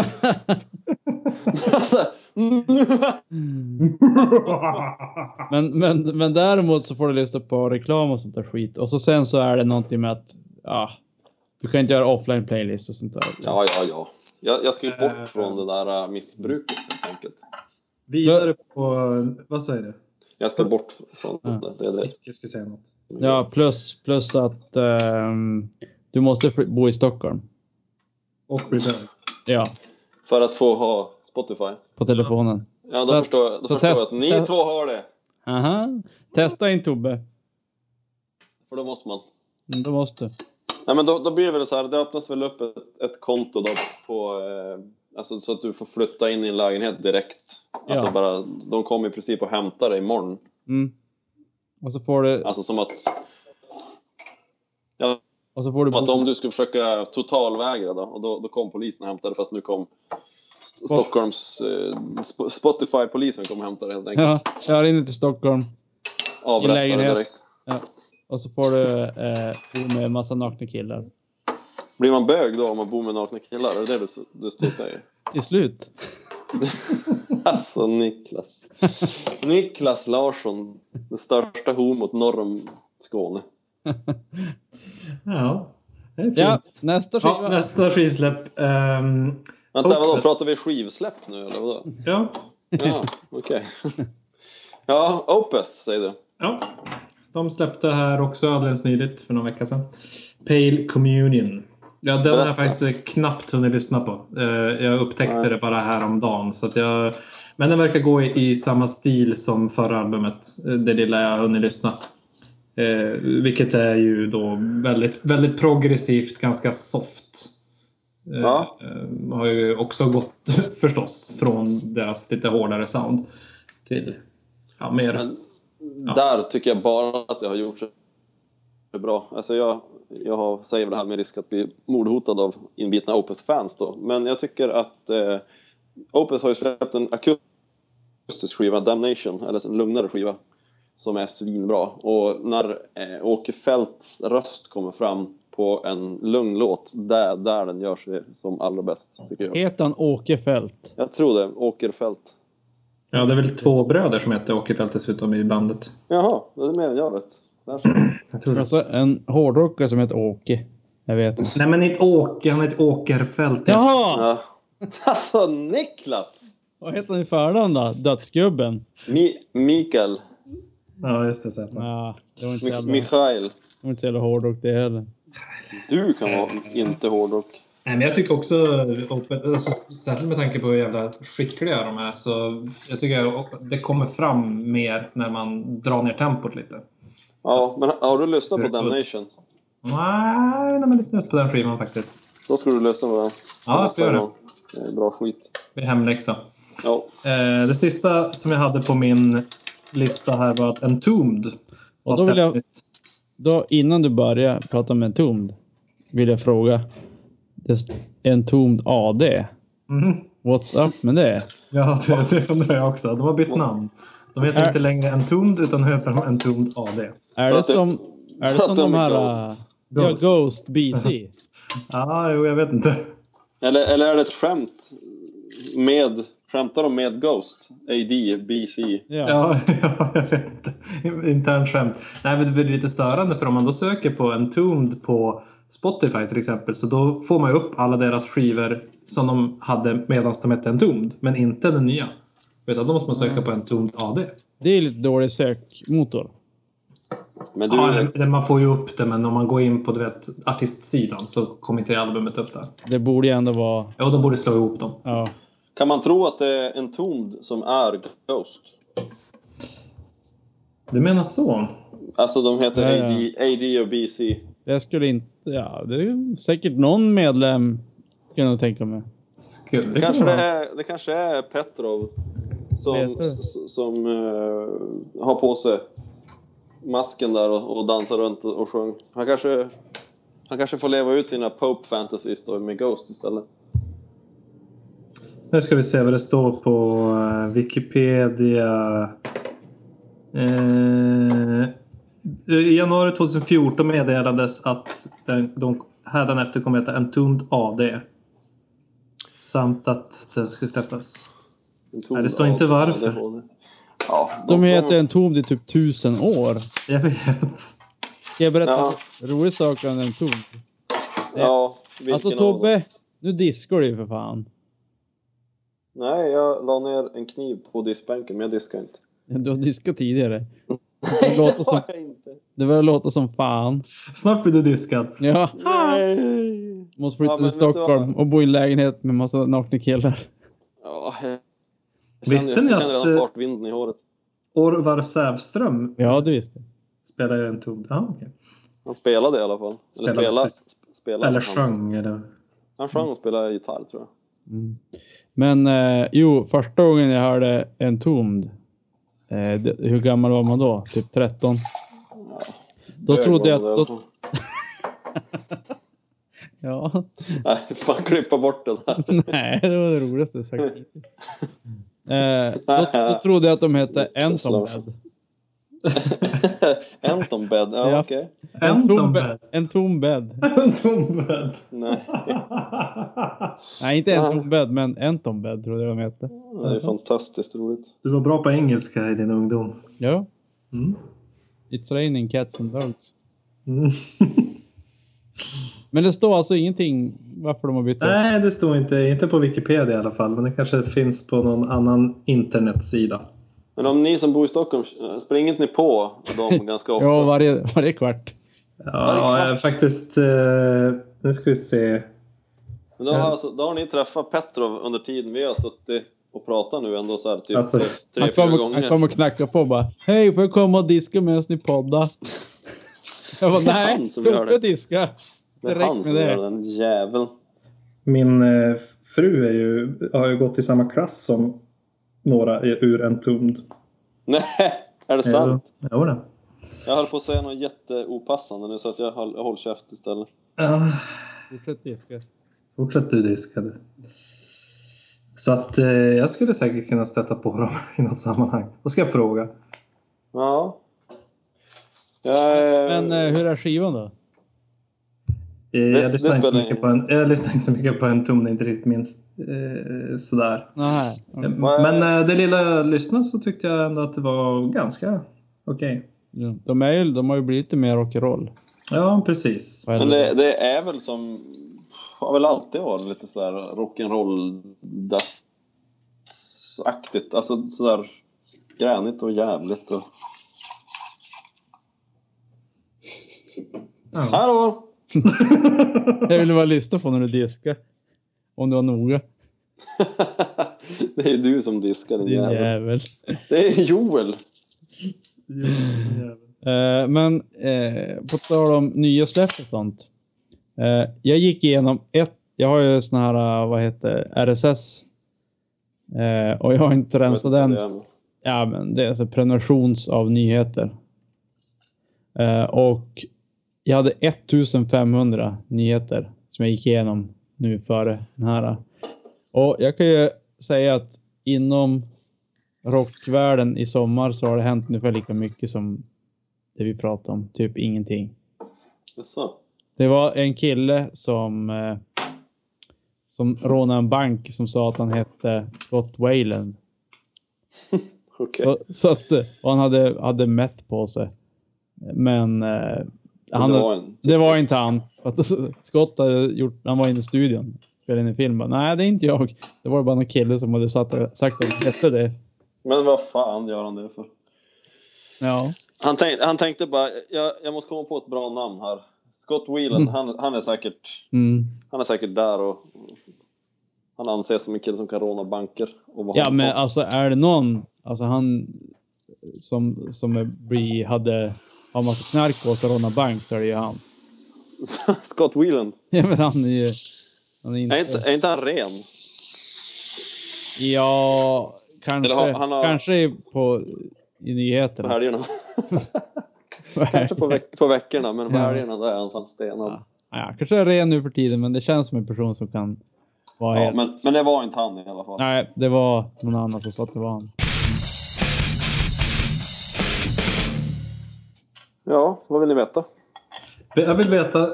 Speaker 4: alltså,
Speaker 2: Men, men, men däremot så får du lyssna på reklam och sånt där skit. Och så sen så är det någonting med att ja, du kan inte göra offline playlist och sånt där.
Speaker 4: ja, ja, ja. Jag, jag ska ju
Speaker 3: Eh.
Speaker 4: bort från det där eh, missbruket helt enkelt.
Speaker 3: Vidare på... Vad säger du?
Speaker 4: Jag ska bort från
Speaker 2: Ja.
Speaker 4: det. det, är det.
Speaker 3: Jag ska säga något.
Speaker 2: Ja, plus, plus att ehm, du måste fly- bo i Stockholm.
Speaker 3: Och bli död.
Speaker 2: Ja,
Speaker 4: För att få ha Spotify.
Speaker 2: på telefonen.
Speaker 4: Ja, då
Speaker 2: Så att-
Speaker 4: förstår, jag, då
Speaker 2: så
Speaker 4: förstår
Speaker 2: test-
Speaker 4: jag att ni
Speaker 2: test-
Speaker 4: två har det.
Speaker 2: Aha. Testa in Tobbe.
Speaker 4: För då måste man.
Speaker 2: Mm, Då måste du.
Speaker 4: Nej, men då, då blir det väl så här, det öppnas väl upp ett, ett konto då på, eh, alltså, så att du får flytta in i en lägenhet direkt. Alltså
Speaker 2: Ja.
Speaker 4: bara, de kommer i princip och hämtar dig imorgon.
Speaker 2: Mm. Och så får du...
Speaker 4: Alltså som att,
Speaker 2: Och så får du
Speaker 4: som att om du skulle försöka totalvägra då, och då, då kom polisen och hämtade dig fast nu kom St- Stockholms eh, Sp- Spotify-polisen kom och hämtade dig helt enkelt.
Speaker 2: Ja, jag ringer till Stockholm.
Speaker 4: Avrättade dig
Speaker 2: lägenhet.
Speaker 4: direkt.
Speaker 2: Och så får du eh, bo med en massa nakna killar.
Speaker 4: Blir man bög då om man bor med nakna killar? Är det det du, du står och säger?
Speaker 2: Till slut.
Speaker 4: Alltså Niklas. Niklas Larsson, den största homot norr om Skåne.
Speaker 3: Ja, det är fint.
Speaker 2: Ja, nästa skiva.
Speaker 3: Ja, nästa skivsläpp. ehm,
Speaker 4: Vänta,
Speaker 3: Okej.
Speaker 4: vadå, pratar vi skivsläpp nu eller vadå?
Speaker 3: ja,
Speaker 4: Ja, okej. Ja, Opeth säger du.
Speaker 3: ja. De släppte här också alldeles nyligt för någon vecka sedan. Pale Communion. Ja, den har
Speaker 4: Berätta.
Speaker 3: jag faktiskt eh, knappt hunnit lyssna på. Eh, Jag upptäckte
Speaker 4: Nej.
Speaker 3: det bara häromdagen. Så att jag, men den verkar gå i, i samma stil som förra albumet. eh, Det lilla jag har hunnit lyssna. Eh, vilket är ju då väldigt, väldigt progressivt, ganska soft. Eh,
Speaker 4: Ja.
Speaker 3: eh, har ju också gått förstås från deras lite hårdare sound till ja, mer.
Speaker 4: Men där tycker jag bara att det har gjort det bra. Alltså jag, jag har, säger väl det här med risk att bli mordhotad av inbitna Opeth-fans då. Men jag tycker att eh, Opeth har ju släppt en akustisk skiva, Damnation, eller en lugnare skiva, som är svinbra. Och när eh, Åke Fälts röst kommer fram på en lugn låt, där, där den gör sig som allra bäst, tycker jag.
Speaker 2: Heter han Åke Fält?
Speaker 4: Jag tror det, Åker Fält.
Speaker 3: Ja, det är väl två bröder som heter Åkerfeldt dessutom i bandet.
Speaker 4: Jaha, det är mer än jag vet. Där så.
Speaker 3: Jag tror det.
Speaker 2: Alltså en hårdrockare som heter Åke. Jag vet inte.
Speaker 3: Nej, men inte Åke, han heter Åkerfeldt.
Speaker 2: Jaha!
Speaker 4: Ja. Alltså Niklas!
Speaker 2: Vad heter han i förnamn då? Dödsgubben?
Speaker 4: Mi- Mikael.
Speaker 3: Ja, just det. Så heter han.
Speaker 2: Ja, det var inte så
Speaker 4: Mi-
Speaker 2: jävla,
Speaker 4: Mikael.
Speaker 2: det var inte så jävla hårdrock det heller.
Speaker 4: Du kan vara inte hårdrock.
Speaker 3: Nej, men jag tycker också, Opeth- alltså, särskilt med tanke på hur jävla skickliga de är, så jag tycker att det kommer fram mer när man drar ner tempot lite.
Speaker 4: Ja, men har du lyssnat på Damnation?
Speaker 3: Nej, nej, men lyssna just på den skivan faktiskt.
Speaker 4: Då ska du lyssna på den.
Speaker 3: Ja, jag ska göra det.
Speaker 4: gång. Det är bra skit.
Speaker 3: Det är hemläxa.
Speaker 4: Ja.
Speaker 3: Eh, det sista som jag hade på min lista här var att Entombed
Speaker 2: Och då vill jag-
Speaker 3: släppt nytt.
Speaker 2: Då, innan du börjar prata om en tomd vill jag fråga. Just en tomd AD.
Speaker 3: Mhm.
Speaker 2: What's up med det?
Speaker 3: Ja, det, det undrar jag också. De har bytt namn. De heter
Speaker 2: Är-
Speaker 3: inte längre Entombed utan nu heter de Entombed AD.
Speaker 2: Är
Speaker 4: För
Speaker 2: det
Speaker 4: att det-
Speaker 2: som, är det
Speaker 4: för
Speaker 2: som
Speaker 4: att de
Speaker 2: de
Speaker 4: är
Speaker 2: här...
Speaker 4: Ghost.
Speaker 2: äh, Ja,
Speaker 3: Ghosts.
Speaker 2: Ghost BC.
Speaker 3: Ja, jo, jag vet inte.
Speaker 4: Eller, eller är det ett skämt? Med, skämtar de med Ghost? AD, BC?
Speaker 2: Ja.
Speaker 3: Ja, ja jag vet inte. Internt skämt. Nej, men det blir lite störande för om man då söker på Entombed på Spotify till exempel så då får man ju upp alla deras skivor som de hade medan de hette Entombed, men inte den nya. Utan då måste man söka på Entombed AD.
Speaker 2: Det är lite dålig sökmotor.
Speaker 4: Men du,
Speaker 3: Ja, eller- eller man får ju upp det, men om man går in på du vet, artistsidan så kommer inte albumet upp där.
Speaker 2: Det borde ju ändå vara...
Speaker 3: Ja, de borde slå ihop dem.
Speaker 2: Ja.
Speaker 4: kan man tro att det är en tomd som är Ghost?
Speaker 3: Du menar så?
Speaker 4: Alltså de heter
Speaker 2: Ja, ja.
Speaker 4: AD, AD och BC.
Speaker 2: Jag skulle inte... Ja, det är ju säkert någon medlem kan jag tänka mig.
Speaker 3: Skulle
Speaker 4: Det kanske, det
Speaker 3: kunna vara.
Speaker 4: är, det kanske är Petrov som,
Speaker 2: Petrov.
Speaker 4: s- som eh, har på sig masken där och, och dansar runt och, och sjunger. Han kanske, han kanske får leva ut sina Pope fantasies då med Ghost istället.
Speaker 3: Nu ska vi se vad det står på eh, Wikipedia. Eh, I januari 2014 meddelades att den, de hädanefter kommer att heta Entombed AD. Samt att den skulle släppas.
Speaker 4: En tom
Speaker 3: Nej, det står inte
Speaker 4: av-
Speaker 3: varför.
Speaker 4: ADHD. Ja,
Speaker 2: De har ätit en tom i typ tusen år.
Speaker 3: Jag vet.
Speaker 2: Ska jag berätta
Speaker 4: Ja.
Speaker 2: en rolig sak om en tom?
Speaker 4: Ja, vilken
Speaker 2: Alltså
Speaker 4: av dem?
Speaker 2: Tobbe, nu diskar du ju för fan.
Speaker 4: Nej, jag la ner en kniv på diskbänken, men jag diskade inte.
Speaker 2: Du har diskat tidigare. Det låter som,
Speaker 4: Jag inte.
Speaker 2: det börjar låta som fan.
Speaker 3: Snart blir du diskad.
Speaker 2: Ja,
Speaker 4: Nej!
Speaker 2: måste
Speaker 4: Ja,
Speaker 2: flytta
Speaker 4: men
Speaker 2: till
Speaker 4: vet du vad?
Speaker 2: Stockholm och bo i en lägenhet med massa nakna killar.
Speaker 4: Ja, jag
Speaker 3: Visste
Speaker 4: kände-
Speaker 3: ni
Speaker 4: jag
Speaker 3: att,
Speaker 4: kände redan
Speaker 3: eh,
Speaker 4: fartvinden i håret.
Speaker 3: Orvar Sävström
Speaker 2: Ja, det visste jag.
Speaker 3: spelar ju Entombed. Ah, okej.
Speaker 4: Han spelade i alla fall.
Speaker 3: Spelade,
Speaker 4: eller spelade.
Speaker 3: precis.
Speaker 4: spelade
Speaker 3: Eller
Speaker 4: han.
Speaker 3: sjöng. Eller...
Speaker 4: Han sjöng och spelade gitarr tror jag.
Speaker 2: Mm. Men eh, jo, första gången jag hörde en tomd. Eh, det, hur gammal var man då? Typ 13? Då
Speaker 4: Bög
Speaker 2: trodde jag...
Speaker 4: var han
Speaker 2: Då,
Speaker 4: väl.
Speaker 2: ja,
Speaker 4: Nej, fan klippa bort det där.
Speaker 2: nej, det var det roligaste jag sagt. Eh, då, då trodde jag att de hette Entombed.
Speaker 4: Anton Bed, ja,
Speaker 2: Ja.
Speaker 4: okej.
Speaker 2: En tom
Speaker 3: Entombed.
Speaker 2: bädd. En tom bädd.
Speaker 3: Entombed.
Speaker 4: Nej,
Speaker 2: Nej, inte
Speaker 4: Ja.
Speaker 2: en tom bädd, men en tom bädd trodde jag de hette.
Speaker 4: det är fantastiskt roligt.
Speaker 3: Du var bra på engelska i din ungdom.
Speaker 2: Ja.
Speaker 3: Mm.
Speaker 2: It's raining cats and dogs.
Speaker 3: Mm.
Speaker 2: Men det står alltså ingenting varför de har bytt upp.
Speaker 3: Nej, det står inte. Inte på Wikipedia i alla fall. Men det kanske finns på någon annan internetsida.
Speaker 4: Men om ni som bor i Stockholm, eh, springer inte ni på dem ganska ofta?
Speaker 2: Ja, varje, varje kvart.
Speaker 4: det
Speaker 3: Ja,
Speaker 4: är klart.
Speaker 3: eh, faktiskt. eh, Nu ska vi se.
Speaker 4: Men då, har alltså, då har ni träffat Petrov under tiden vi har suttit och pratat nu ändå så här typ
Speaker 3: Alltså,
Speaker 4: tre,
Speaker 2: Han
Speaker 4: fyra
Speaker 2: kom, och, han
Speaker 4: gånger.
Speaker 2: kom och knackade på och bara Hej, får jag komma och diska medan ni poddar? Jag bara
Speaker 4: Det är
Speaker 2: nej,
Speaker 4: han som gör
Speaker 2: Tobbe
Speaker 4: det."
Speaker 2: diska.
Speaker 4: det är
Speaker 2: direkt
Speaker 4: han
Speaker 2: med
Speaker 4: som
Speaker 2: det.
Speaker 4: gör den jäveln.
Speaker 3: Min eh, fru är ju, har ju gått i samma klass som några i- ur Entombed. Eh,
Speaker 4: Nej, är det sant?
Speaker 3: Jo, jo då.
Speaker 4: Jag höll på att säga något jätteopassande nu så att jag höll, jag håller käft istället.
Speaker 3: Ja,
Speaker 2: Fortsätt diska.
Speaker 3: Fortsätt du diskade. Så att eh, jag skulle säkert kunna stöta på dem i något sammanhang. Då ska jag fråga. Eh,
Speaker 4: Ja. Jag, är-
Speaker 2: Men eh, hur är skivan då?
Speaker 3: Eh, jag,
Speaker 4: det
Speaker 3: lyssnar inte så
Speaker 4: spelar
Speaker 3: mycket
Speaker 4: ingen-
Speaker 3: på en, jag lyssnar inte så mycket på en tom, det är inte riktigt minst eh, sådär.
Speaker 2: Nähä.
Speaker 3: Eh,
Speaker 4: Vad-
Speaker 3: Men eh, det lilla jag lyssnade så tyckte jag ändå att det var ganska okej.
Speaker 2: Ja, De, är ju, de har ju blivit lite mer rock'n'roll.
Speaker 3: Ja, precis.
Speaker 2: Vad är
Speaker 4: Men
Speaker 2: det?
Speaker 4: det, det är väl som... Har väl alltid varit lite sådär rock'n'roll aktigt Alltså sådär skränigt och jävligt och...
Speaker 3: Ja.
Speaker 4: Hallå!
Speaker 2: Jag ville bara lyssna på när du diskar. Om du var noga.
Speaker 4: det är ju du som diskar din
Speaker 2: Din
Speaker 4: jävel.
Speaker 2: jävel.
Speaker 4: Det är Joel!
Speaker 3: Jo, jävlar.
Speaker 2: Eh, men eh, på tal om nya släpp och sånt. Eh, jag gick igenom ett, jag har ju sån här, eh, vad heter RSS. Eh, och jag har inte rensat
Speaker 4: Jag vet
Speaker 2: den.
Speaker 4: inte vad det är.
Speaker 2: Ja, men det är alltså prenumerations av nyheter. Eh, och jag hade 1500 nyheter som jag gick igenom nu före den här. Och jag kan ju säga att inom rockvärlden i sommar så har det hänt ungefär lika mycket som det vi pratar om. Typ ingenting.
Speaker 4: Jaså?
Speaker 2: Det var en kille som, eh, som rånade en bank som sa att han hette Scott Wayland.
Speaker 4: Okej.
Speaker 2: Så, så att, eh, och han hade, hade mätt på sig. Men eh, han,
Speaker 4: det var en...
Speaker 2: det var inte han. För att Scott hade gjort, han var inne i studion. Spelade in en film. Bara, Nej, det är inte jag. Det var bara någon kille som hade satt, sagt att han hette det.
Speaker 4: Men vad fan gör han det för?
Speaker 2: Ja.
Speaker 4: Han, tänk, han tänkte bara, jag, jag måste komma på ett bra namn här. Scott Whelan,
Speaker 2: Mm.
Speaker 4: han, han, är säkert,
Speaker 2: Mm.
Speaker 4: han är säkert där och han anses som en kille som kan råna banker. Och vad
Speaker 2: Ja
Speaker 4: han
Speaker 2: men
Speaker 4: får.
Speaker 2: alltså är det någon, alltså han som, som är- blir, hade, har massa knark på sig och rånar bank så är det ju han. alltså-
Speaker 4: Scott Whelan,
Speaker 2: Ja men han är ju, han är inte,
Speaker 4: är inte, är inte han ren?
Speaker 2: ja kanske,
Speaker 4: Eller har- han har-
Speaker 2: kanske på, i
Speaker 4: På
Speaker 2: nyheterna.
Speaker 4: helgerna? Kanske på, veck, på veckorna, men på
Speaker 2: Ja.
Speaker 4: helgerna där är han fan stenad.
Speaker 2: Ja. Ja, kanske är ren nu för tiden men det känns som en person som kan vara
Speaker 4: Ja,
Speaker 2: helt...
Speaker 4: men, men det var inte han i alla fall.
Speaker 2: Nej, det var någon annan som sa att det var han.
Speaker 4: Ja, vad vill ni veta?
Speaker 3: Jag vill veta,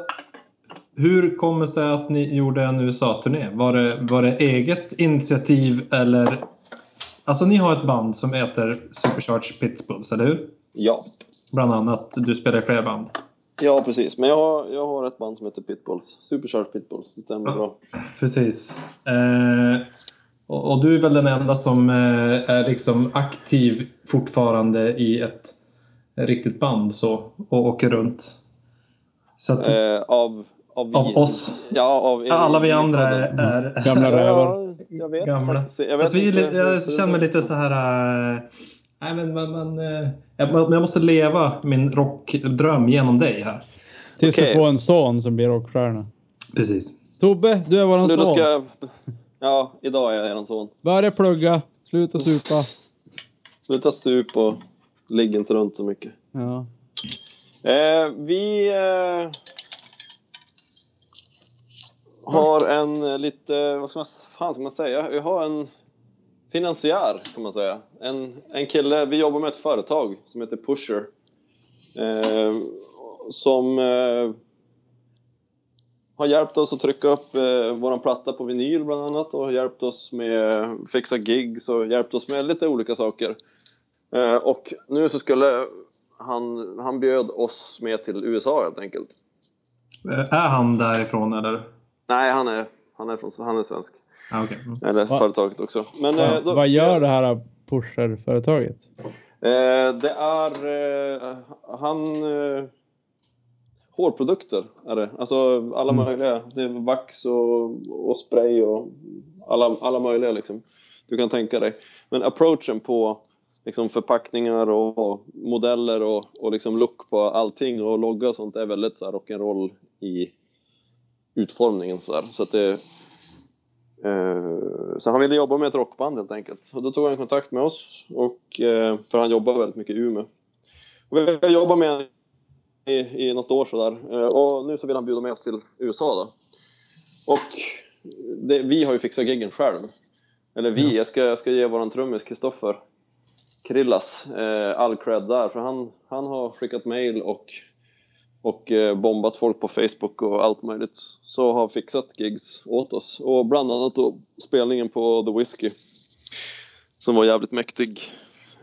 Speaker 3: hur kommer det sig att ni gjorde en USA-turné? Var det, var det eget initiativ eller? Alltså ni har ett band som heter Supercharged Pitbulls, eller hur?
Speaker 4: Ja.
Speaker 3: Bland annat, du spelar i flera band.
Speaker 4: Ja, precis. Men jag har, jag har ett band som heter Pitbulls. Supercharged Pitbulls, det stämmer
Speaker 3: Ja.
Speaker 4: bra.
Speaker 3: Precis. Eh, och, och du är väl den enda som eh, är liksom aktiv fortfarande i ett riktigt band så, och åker runt. Så att,
Speaker 4: Eh, av, av, vi.
Speaker 3: av oss.
Speaker 4: Ja, av er.
Speaker 3: Alla vi andra är, är
Speaker 2: Gamla rövar.
Speaker 4: Ja, jag vet
Speaker 3: gamla.
Speaker 4: faktiskt. Jag
Speaker 3: så
Speaker 4: vet
Speaker 3: att vi, är
Speaker 4: inte
Speaker 3: li-
Speaker 4: hur det
Speaker 3: jag
Speaker 4: ser ut.
Speaker 3: känner mig lite så här... eh, Nej, men man, man, eh, jag, man, jag måste leva min rockdröm genom dig här.
Speaker 2: Tills
Speaker 4: Okej.
Speaker 2: du får en son som blir rockstjärna.
Speaker 3: Precis.
Speaker 2: Tobbe, du är våran
Speaker 4: Nu, då
Speaker 2: son.
Speaker 4: ska jag... Ja, idag är jag eran son.
Speaker 2: Börja plugga, sluta supa.
Speaker 4: Sluta sup och ligg inte runt så mycket.
Speaker 2: Ja.
Speaker 4: Eh, vi eh, har en eh, lite, vad ska man, fan ska man säga? Vi har en finansiär kan man säga. En, en kille, vi jobbar med ett företag som heter Pusher. Eh, som eh, har hjälpt oss att trycka upp eh, våran platta på vinyl bland annat och har hjälpt oss med fixa gigs och hjälpt oss med lite olika saker. Eh, och nu så skulle han, han bjöd oss med till USA helt enkelt.
Speaker 3: Eh, Är han därifrån eller?
Speaker 4: Nej, han är, han är, från, han är svensk.
Speaker 3: Ah, okay.
Speaker 4: Eller
Speaker 2: Va?
Speaker 4: företaget också. Men,
Speaker 3: Va-
Speaker 4: eh, då-
Speaker 2: Vad gör det här pusher-företaget?
Speaker 4: Eh, det är... Eh, han... Eh, hårprodukter är det. Alltså alla
Speaker 2: Mm.
Speaker 4: möjliga. Det är vax och, och spray och alla, alla möjliga liksom. Du kan tänka dig. Men approachen på liksom, förpackningar och, och modeller och, och liksom look på allting och logga och sånt är väldigt så här, rock'n'roll i utformningen. Så, här. så att det... Eh, Så han ville jobba med ett rockband helt enkelt. Och då tog han kontakt med oss, och, eh, för han jobbar väldigt mycket i Umeå. Och vi har jobbat med honom i, i något år sådär. Eh, Och nu så vill han bjuda med oss till USA då. Och det, vi har ju fixat giggen själv. Eller vi, jag, ska, jag ska ge våran trummis Kristoffer Krillas eh, all cred där. För han, han har skickat mail och, och eh, bombat folk på Facebook och allt möjligt. Så har fixat gigs åt oss. Och bland annat då spelningen på The Whiskey. Som var jävligt mäktig.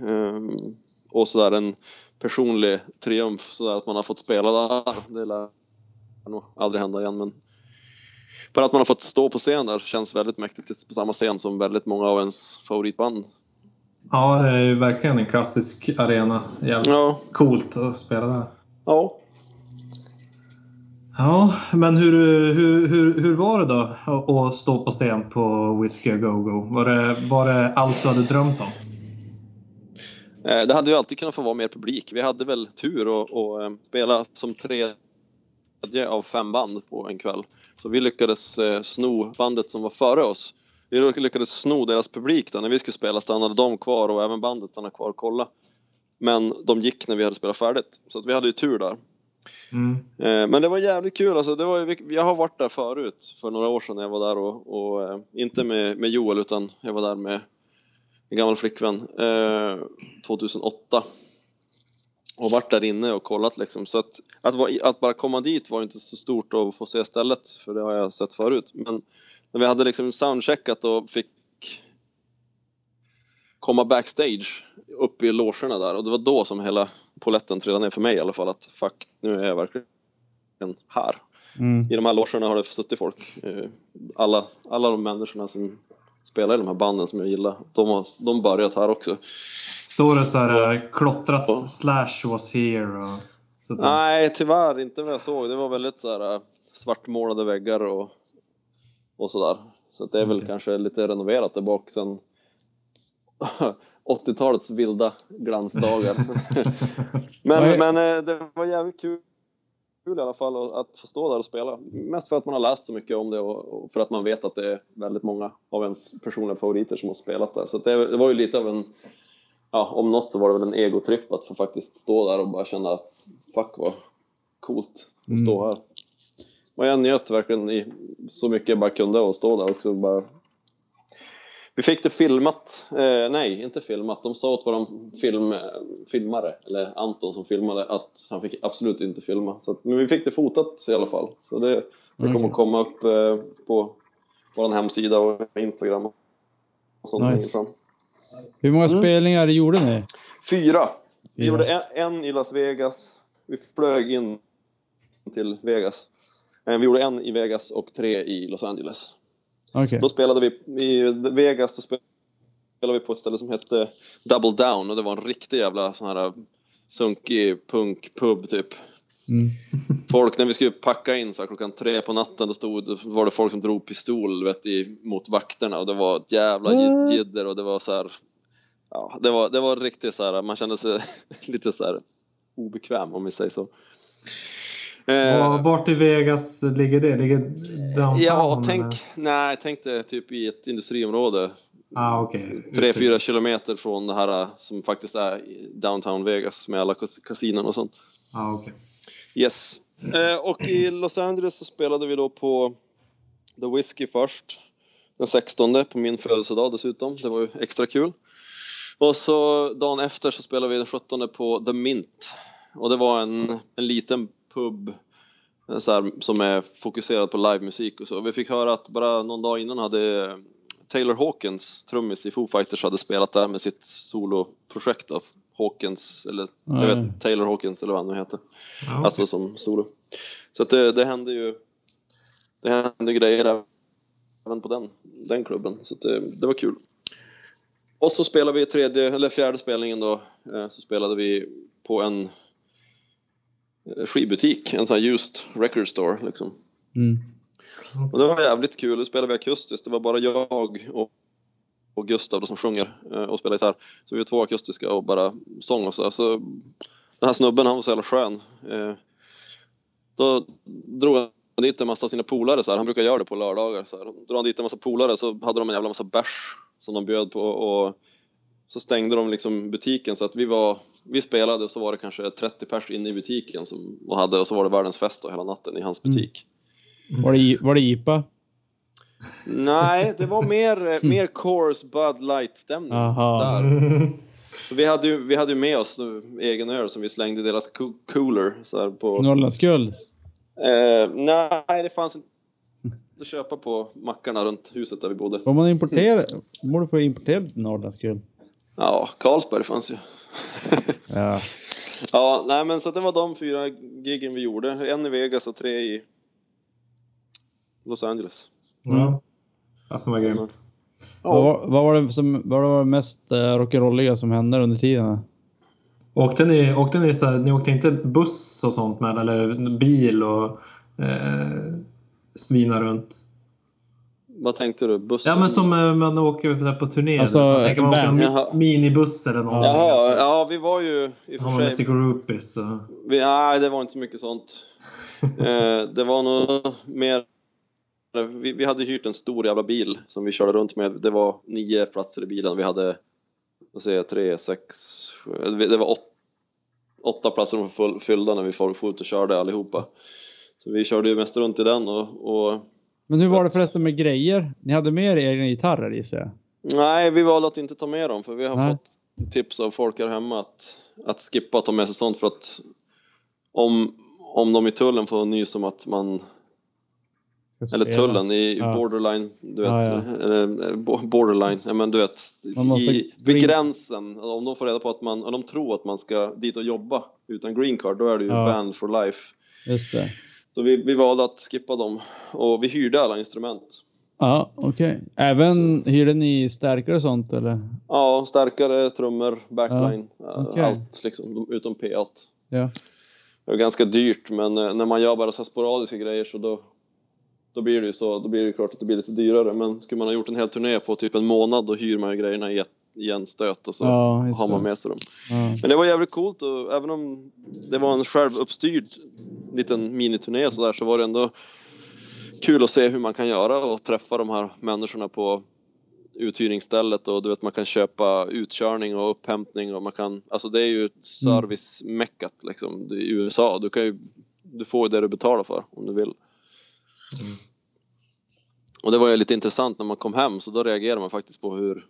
Speaker 4: Ehm, och sådär en personlig triumf sådär att man har fått spela där. Det lär nog aldrig hända igen men bara att man har fått stå på scen där känns väldigt mäktigt på samma scen som väldigt många av ens favoritband.
Speaker 3: Ja, det är ju verkligen en klassisk arena. Jävligt
Speaker 4: Ja,
Speaker 3: coolt att spela där.
Speaker 4: ja.
Speaker 3: Ja, men hur, hur, hur, hur var det då att- att stå på scen på Whiskey A Go Go? Var det, var det allt du hade drömt om?
Speaker 4: Eh, Det hade ju alltid kunnat få vara mer publik. Vi hade väl tur och, och eh, spela som tredje av fem band på en kväll. Så vi lyckades eh, sno bandet som var före oss. Vi lyckades sno deras publik då. När vi skulle spela stannade de kvar och även bandet stannade kvar och kollade. Men de gick när vi hade spelat färdigt. Så att vi hade ju tur där.
Speaker 3: Mm.
Speaker 4: Eh, Men det var jävligt kul. Alltså, det var, ju vilk- jag har varit där förut, för några år sedan när jag var där. Och, och, eh, inte med, med Joel, utan jag var där med en gammal flickvän eh, 2008. Och varit där inne och kollat liksom. Så att, att, vara i- att bara komma dit var inte så stort att få se stället, för det har jag sett förut. Men när vi hade liksom soundcheckat och fick komma backstage uppe i logerna där och det var då som hela poletten trillade ner för mig i alla fall att fuck, nu är jag verkligen här.
Speaker 2: Mm.
Speaker 4: I de här logerna har det suttit folk. eh, Alla, alla de människorna som, spelar i de här banden som jag gillar. De har de börjat här också.
Speaker 3: Står det så här eh, klottrat slash was here? Och, så att,
Speaker 4: Nej, tyvärr inte vad jag såg. Det var väldigt så här, eh, svartmålade väggar och, och sådär. Så att det är väl kanske lite renoverat där bak sen 80-talets vilda glansdagar.
Speaker 2: Nej.
Speaker 4: men, men eh, det var jävligt kul kul i alla fall att få stå där och spela. Mest för att man har läst så mycket om det och och för att man vet att det är väldigt många av ens personliga favoriter som har spelat där. Så att det, det var ju lite av en, ja, om något så var det väl en egotripp att få faktiskt stå där och bara känna att fuck vad coolt att stå
Speaker 2: Mm.
Speaker 4: här. Och jag njöt verkligen i, så mycket jag bara kunde och stå där också. och Bara. Vi fick det filmat, eh, nej inte filmat, de sa åt våran film, eh, filmare, eller Anton som filmade, att han fick absolut inte filma. Så att, men vi fick det fotat i alla fall. Så det, det kommer
Speaker 2: Okej.
Speaker 4: att komma upp eh, på vår hemsida och Instagram och sånt
Speaker 2: Nice.
Speaker 4: längre fram.
Speaker 2: Hur många spelningar gjorde ni?
Speaker 4: Fyra! Mm. Vi
Speaker 2: Fyra.
Speaker 4: gjorde en, en i Las Vegas, vi flög in till Vegas. Eh, Vi gjorde en i Vegas och tre i Los Angeles.
Speaker 2: Okej.
Speaker 4: Då spelade vi i Vegas så spelade vi på ett ställe som hette Double Down och det var en riktig jävla sån här äh, sunkig punkpub typ.
Speaker 2: Mm.
Speaker 4: Folk, när vi skulle packa in så här, klockan tre på natten då stod, var det folk som drog pistol vet, i, mot vakterna och det var ett jävla jid- jidder och det var så här. Ja, det var, det var riktigt så här, man kände sig lite så här obekväm om vi säger så. Eh,
Speaker 3: och vart i Vegas ligger det? Ligger downtown?
Speaker 4: Ja,
Speaker 3: eller?
Speaker 4: tänk, nej, tänk det typ i ett industriområde.
Speaker 3: Ah, okej.
Speaker 4: tre fyra kilometer från det här eh, som faktiskt är i downtown Vegas med alla kas- kasinon och sånt.
Speaker 3: Ah, okej.
Speaker 4: Yes. Eh, och i Los Angeles så spelade vi då på The Whiskey först. Den 16 på min födelsedag dessutom. Det var ju extra kul. Och så dagen efter så spelade vi den 17 på The Mint. Och det var en, en liten pub en så här, som är fokuserad på livemusik och så. Vi fick höra att bara någon dag innan hade eh, Taylor Hawkins, trummis i Foo Fighters, hade spelat där med sitt soloprojekt då. Hawkins, eller jag
Speaker 2: Nej.
Speaker 4: vet, Taylor Hawkins eller vad han nu heter.
Speaker 3: Ja, okej.
Speaker 4: Alltså som solo. Så att det, det hände ju det hände grejer även på den, den klubben. Så att det, det var kul. Och så spelade vi tredje, eller fjärde spelningen då, eh, så spelade vi på en eh, skivbutik, en sån här used record store liksom.
Speaker 2: Mm.
Speaker 4: Och det var jävligt kul, då spelade vi akustiskt, det var bara jag och, och Gustav då, som sjunger eh, och spelar gitarr. Så vi var två akustiska och bara sång och så. så den här snubben han var så jävla skön. Eh, Då drog han dit en massa av sina polare, så här. han brukar göra det på lördagar. Så här. Då drog han dit en massa polare så hade de en jävla massa bärs som de bjöd på och så stängde de liksom butiken så att vi var, vi spelade och så var det kanske 30 pers inne i butiken som, och hade och så var det världens fest då, hela natten i hans butik.
Speaker 2: Var, det, i- var det IPA?
Speaker 4: Nej, det var mer, eh, mer coarse Bud Light-stämning.
Speaker 2: Aha.
Speaker 4: Där.
Speaker 3: Mm.
Speaker 4: Så vi hade ju vi hade ju med oss nu, egen öl som vi slängde i deras co- cooler. Så här på,
Speaker 2: Norrlandskull?
Speaker 4: eh, nej, det fanns inte att köpa på mackarna runt huset där vi bodde.
Speaker 2: Får man importera? Borde få importera lite Norrlandskull?
Speaker 4: Ja, Carlsberg fanns ju.
Speaker 2: Ja.
Speaker 4: ja, nej men så att det var de fyra giggen vi gjorde. En i Vegas och tre i Los Angeles. mm.
Speaker 3: Ja. Alltså, vad grymt.
Speaker 2: Vad, var, vad var det som vad var det mest eh, rock'n'rolliga som hände under tiden?
Speaker 3: Åkte ni, åkte ni, så här, ni åkte inte buss och sånt med eller bil och eh, svina runt?
Speaker 4: Vad tänkte du? Bussen?
Speaker 3: Ja men som eh, man åker så här på turné.
Speaker 2: Alltså,
Speaker 3: man tänker man åker
Speaker 2: van.
Speaker 3: en
Speaker 4: Jaha.
Speaker 3: mi- minibuss eller någonting.
Speaker 4: Jaha,
Speaker 3: alltså.
Speaker 4: ja vi var ju i och
Speaker 3: Har man
Speaker 4: för
Speaker 3: med
Speaker 4: sig
Speaker 3: sig groupies så.
Speaker 4: Vi, nej, det var inte så mycket sånt. eh, det var nog mer... Vi, vi hade hyrt en stor jävla bil som vi körde runt med. Det var nio platser i bilen. Vi hade, vad säger jag, tre, sex, sju, det var åt, åtta platser som var full, fyllda när vi for for ut och körde allihopa. Så vi körde ju mest runt i den och, och
Speaker 2: Men hur var det förresten med grejer? Ni hade med er egna gitarrer gissar jag?
Speaker 4: Nej, vi valde att inte ta med dem för vi har
Speaker 2: Nej.
Speaker 4: fått tips av folk här hemma att, att skippa att ta med sig sånt för att om, om de i tullen får nys om att man,
Speaker 2: Ska
Speaker 4: eller
Speaker 2: spela.
Speaker 4: tullen i
Speaker 2: Ja.
Speaker 4: borderline, du vet,
Speaker 2: Ja,
Speaker 4: eller, eh, bo- borderline, ja men du vet,
Speaker 2: Man måste
Speaker 4: i, vid
Speaker 2: green-
Speaker 4: gränsen, om de får reda på att man, om de tror att man ska dit och jobba utan green card, då är det ju
Speaker 2: Ja.
Speaker 4: banned for life.
Speaker 2: Just det.
Speaker 4: Så vi, vi valde att skippa dem och vi hyrde alla instrument.
Speaker 2: Ja, okej. Även hyrde ni stärkare och sånt eller?
Speaker 4: Ja, starkare trummor, backline, eh,
Speaker 2: okej.
Speaker 4: allt liksom, utom P8.
Speaker 2: Ja.
Speaker 4: Det är ganska dyrt, men eh, när man gör bara så här sporadiska grejer så då, då blir det ju så. Då blir det ju klart att det blir lite dyrare, men skulle man ha gjort en hel turné på typ en månad då hyr man ju grejerna i, ett, i en stöt och så
Speaker 2: Ja, just
Speaker 4: har man
Speaker 2: det.
Speaker 4: med sig dem.
Speaker 2: Ja.
Speaker 4: Men det var jävligt coolt och även om det var en självuppstyrd liten miniturné och sådär så var det ändå kul att se hur man kan göra och träffa de här människorna på uthyrningsstället och du vet man kan köpa utkörning och upphämtning och man kan, alltså det är ju ett servicemeckat liksom Det är i USA. Du kan ju, du får ju det du betalar för om du vill. Och det var ju lite intressant när man kom hem så då reagerade man faktiskt på hur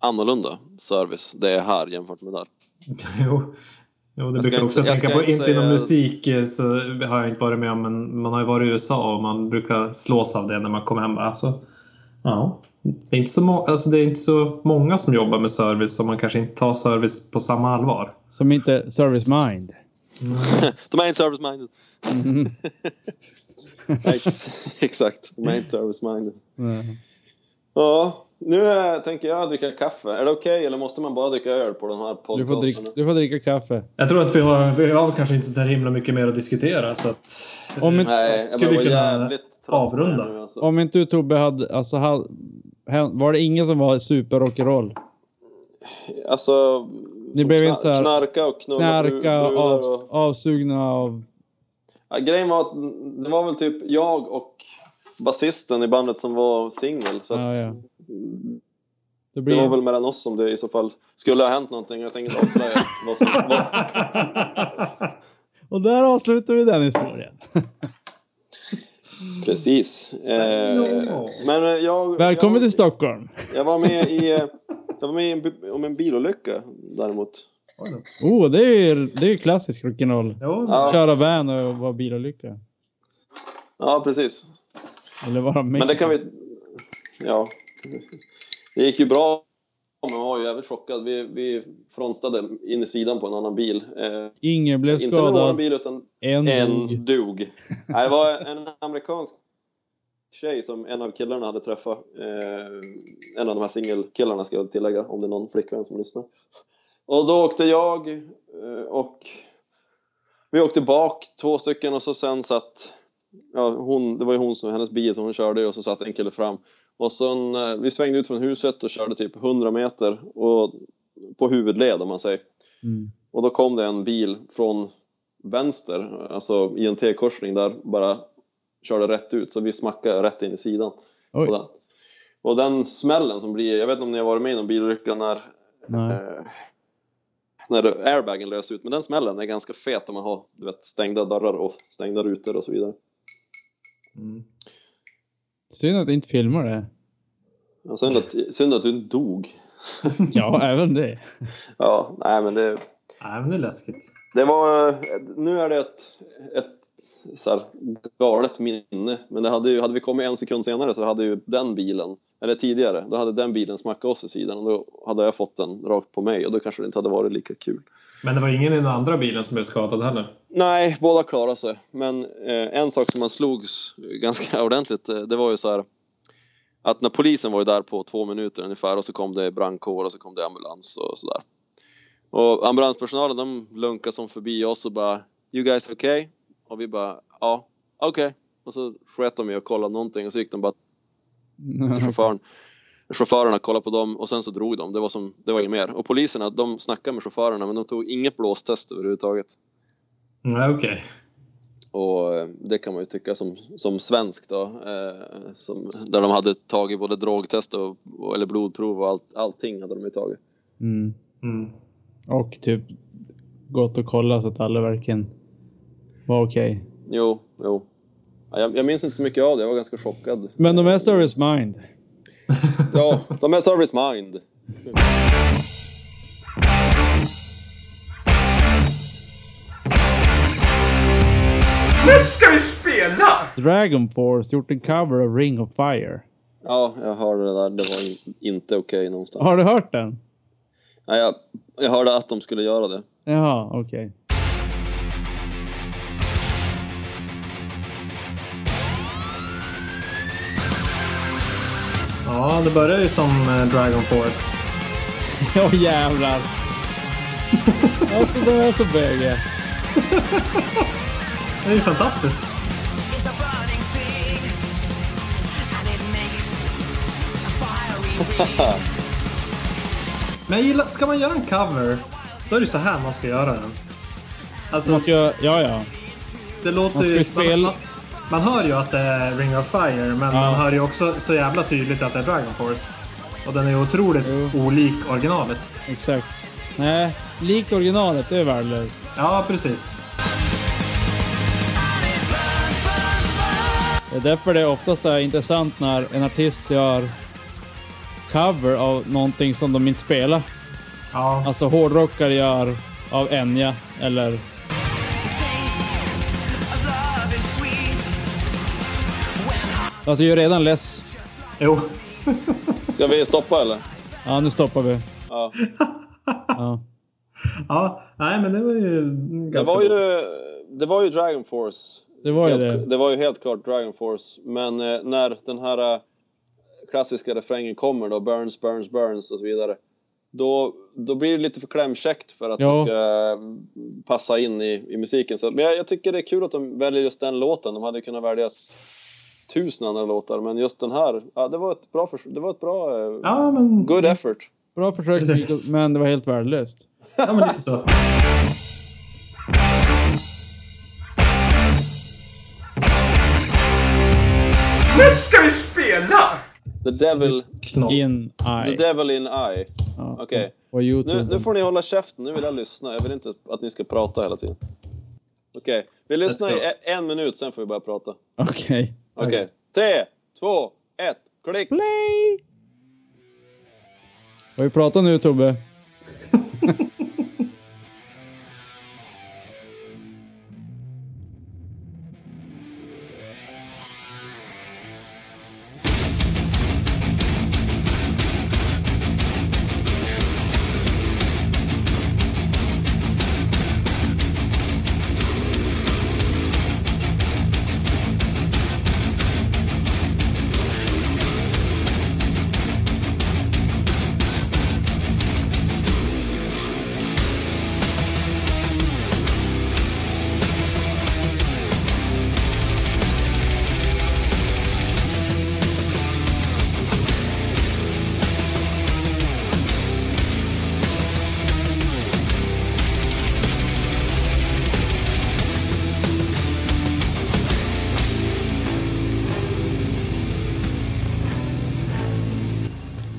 Speaker 4: annorlunda service det är här jämfört med där.
Speaker 3: Jo, jo det
Speaker 4: ska
Speaker 3: brukar jag också
Speaker 4: inte- jag
Speaker 3: tänka
Speaker 4: ska
Speaker 3: på.
Speaker 4: inte
Speaker 3: Inte inom eh,
Speaker 4: säga-
Speaker 3: Alltså,
Speaker 2: Som inte service mind.
Speaker 4: De är inte service minded. Mm.
Speaker 2: Mhm.
Speaker 4: Ex- Exakt, de är inte service minded.
Speaker 2: Nej.
Speaker 4: Ja, nu eh, tänker jag dricka kaffe. Är det okej eller måste man bara dricka öl på den här
Speaker 2: Du får, dricka,
Speaker 4: podcasten?
Speaker 2: du får dricka kaffe.
Speaker 3: Jag tror att vi har, vi har kanske inte så där himla mycket mer att diskutera så att
Speaker 2: Om inte,
Speaker 4: Nej,
Speaker 3: Skulle
Speaker 4: jag
Speaker 3: vi
Speaker 4: var
Speaker 3: kunna
Speaker 4: jävligt trött
Speaker 3: avrunda?
Speaker 4: nu, alltså.
Speaker 2: om inte du Tobbe hade... Alltså, ha- hän- var det ingen som var super rock'n'roll?
Speaker 4: alltså
Speaker 2: Ni blev inte så här-
Speaker 4: Knarka och knulla bru-
Speaker 2: Knarka,
Speaker 4: brudar
Speaker 2: av,
Speaker 4: och...
Speaker 2: avsugna av...
Speaker 4: Ja, grejen var att det var väl typ jag och basisten i bandet som var singel. Så
Speaker 2: Ja,
Speaker 4: att
Speaker 2: ja. Det
Speaker 4: Det
Speaker 2: blir,
Speaker 4: var väl mellan oss som det i så fall skulle ha hänt någonting. Jag tänker inte avslöja vad som... Vad...
Speaker 2: Och där avslutar vi den historien.
Speaker 4: Precis.
Speaker 3: Säg
Speaker 4: Eh,
Speaker 3: no.
Speaker 4: men eh, jag...
Speaker 2: Välkommen
Speaker 4: jag,
Speaker 2: till Stockholm!
Speaker 4: Jag var med i... eh, Jag var med i en, bi- om en bilolycka däremot.
Speaker 2: Oh, det är ju, det är ju klassisk rock'n'roll.
Speaker 3: Jo,
Speaker 4: Ja,
Speaker 2: Köra van och vara bilolycka.
Speaker 4: ja precis.
Speaker 2: Eller vara med.
Speaker 4: Men det kan vi... Ja. Det gick ju bra. Men man var ju jävligt chockad. Vi, vi frontade in i sidan på en annan bil. Eh,
Speaker 2: Ingen blev
Speaker 4: inte med vår
Speaker 2: skadad.
Speaker 4: bil utan
Speaker 2: En, dog.
Speaker 4: en dog. Nej, det var en amerikansk tjej som en av killarna hade träffat. Eh, en av de här singelkillarna ska jag tillägga om det är någon flickvän som lyssnar. Och då åkte jag eh, och vi åkte bak två stycken och så sen satt ja, hon, det var ju hon som, hennes bil som hon körde och så satt en kille fram. Och sen, eh, vi svängde ut från huset och körde typ 100 meter och, på huvudled om man säger.
Speaker 2: Mm.
Speaker 4: Och då kom det en bil från vänster, alltså i en T-korsning där, bara körde rätt ut. Så vi smackade rätt in i sidan
Speaker 2: Oj.
Speaker 4: på den. Och den smällen som blir, jag vet inte om ni har varit med i någon bilolycka när,
Speaker 2: Nej.
Speaker 4: eh, när airbagen löser ut, men den smällen är ganska fet om man har du vet, stängda dörrar och stängda rutor och så vidare.
Speaker 3: Mm.
Speaker 2: Synd att jag inte filmar det.
Speaker 4: Ja, Synd att, synd att du dog.
Speaker 2: Ja, även det.
Speaker 4: Ja, nej men det,
Speaker 3: Nej, men det är läskigt.
Speaker 4: Det var, nu är det ett, ett så här, galet minne, men det hade, ju, hade vi kommit en sekund senare så hade ju den bilen, eller tidigare, då hade den bilen smackat oss i sidan och då hade jag fått den rakt på mig och då kanske det inte hade varit lika kul.
Speaker 3: Men det var ingen i den andra bilen som blev skadad heller?
Speaker 4: Nej, båda klarade sig, men eh, en sak som man slogs ganska ordentligt, eh, det var ju så här att när polisen var ju där på två minuter ungefär och så kom det brandkår och så kom det ambulans och sådär. Och ambulanspersonalen de lunkade som förbi oss och bara You guys okay? Och vi bara ja, okej. Och så sket de i att kolla någonting och så gick de bara
Speaker 2: Mm.
Speaker 4: till chauffören. Chaufförerna kollade på dem och sen så drog de. Det var, som, det var inget mer. Och poliserna de snackade med chaufförerna men de tog inget blåstest överhuvudtaget.
Speaker 3: Nej, okej.
Speaker 4: Och eh, det kan man ju tycka som, som svensk då. Eh, som, där de hade tagit både drogtest och, och, eller blodprov och allt, allting hade de ju tagit.
Speaker 2: Mm.
Speaker 3: Mm.
Speaker 2: Och typ gått och kollat så att alla verkligen var okej.
Speaker 4: Jo, jo. Ja, Jag, jag minns inte så mycket av det, jag var ganska chockad.
Speaker 2: Men de är service mind.
Speaker 4: Ja, de är service mind.
Speaker 2: Dragon Force gjort en cover av Ring of Fire.
Speaker 4: Ja, jag hörde det där. Det var in, inte okej någonstans.
Speaker 2: Har du hört den?
Speaker 4: Nej, jag, jag hörde att de skulle göra det.
Speaker 2: Jaha, okej.
Speaker 3: Ja, det börjar ju som eh, Dragon Force.
Speaker 2: Åh jävlar! alltså det är så böge.
Speaker 3: Det är ju fantastiskt.
Speaker 5: It's a burning thing, and it makes a fiery ring.
Speaker 3: Men jag gillar, ska man göra en cover, då är det så här man ska göra den. Alltså,
Speaker 2: Man ska, ja ja.
Speaker 3: det låter
Speaker 2: man ska ju spela-
Speaker 3: Man, man hör ju att det är Ring of Fire, men man hör ju också så jävla tydligt att det är Dragon Force. Och den är ju otroligt olik originalet.
Speaker 2: Exakt. Nej, likt originalet, det är värdelöst.
Speaker 3: Ja, precis.
Speaker 2: Det är därför det oftast är intressant när en artist gör cover av någonting som de inte spelar.
Speaker 3: Ja,
Speaker 2: Alltså hårdrockare gör av Enya eller
Speaker 5: The taste of love is sweet. When I
Speaker 2: Alltså jag är redan less.
Speaker 3: jo.
Speaker 4: Ska vi stoppa eller?
Speaker 2: Ja, nu stoppar vi.
Speaker 4: Ja.
Speaker 2: Ja.
Speaker 3: ja, nej men det var ju ganska
Speaker 4: Det var ju,
Speaker 3: bra.
Speaker 4: det var ju Dragon Force.
Speaker 2: Det var ju
Speaker 4: Helt-
Speaker 2: det.
Speaker 4: det var ju helt klart Dragon Force. Men eh, när den här eh, klassiska refrängen kommer då, Burns, Burns, Burns och så vidare. Då, då blir det lite för klämkäckt för att
Speaker 2: Ja.
Speaker 4: det ska eh, passa in i, i musiken. Så, men jag, jag tycker det är kul att de väljer just den låten. De hade kunnat välja tusen andra låtar, men just den här, ja, det var ett bra, förs- det var ett bra eh,
Speaker 3: Ja, men,
Speaker 4: good effort.
Speaker 2: Bra försök,
Speaker 3: Precis.
Speaker 2: men det var helt värdelöst.
Speaker 3: ja, men lite så.
Speaker 4: The Devil,
Speaker 3: Knopp.
Speaker 2: In
Speaker 4: the
Speaker 2: Eye.
Speaker 4: devil in Eye.
Speaker 2: Ja.
Speaker 4: Okej.
Speaker 2: På
Speaker 4: Nu,
Speaker 2: Youtube.
Speaker 3: Mm.
Speaker 4: nu får ni hålla käften, nu vill jag lyssna. Jag vill inte att ni ska prata hela tiden. Okej, vi lyssnar i
Speaker 3: Let's go.
Speaker 4: e- en minut, sen får vi börja prata.
Speaker 2: Okej.
Speaker 4: Okej, tre, två, ett, klick!
Speaker 2: Play! Vad vi pratar nu Tobbe?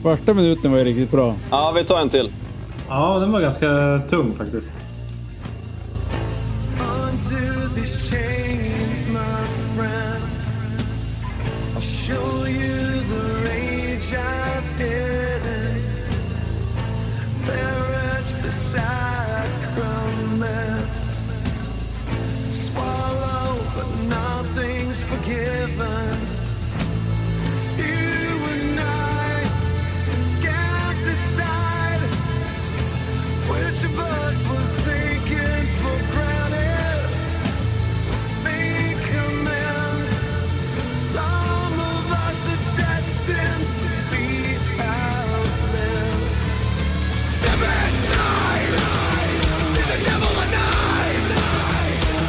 Speaker 2: Första minuten var ju riktigt bra.
Speaker 4: Ja, vi tar en till.
Speaker 3: Ja, den var ganska tung faktiskt.
Speaker 6: Onto these chains, my friend. I'll show you the rage I've hidden. Perish the sacrament. Swallow, but nothing's forgiven. You and I can't decide. Which of us was taken for granted? Make amends. Some of us are destined to be outlived. Step inside to the devil and I.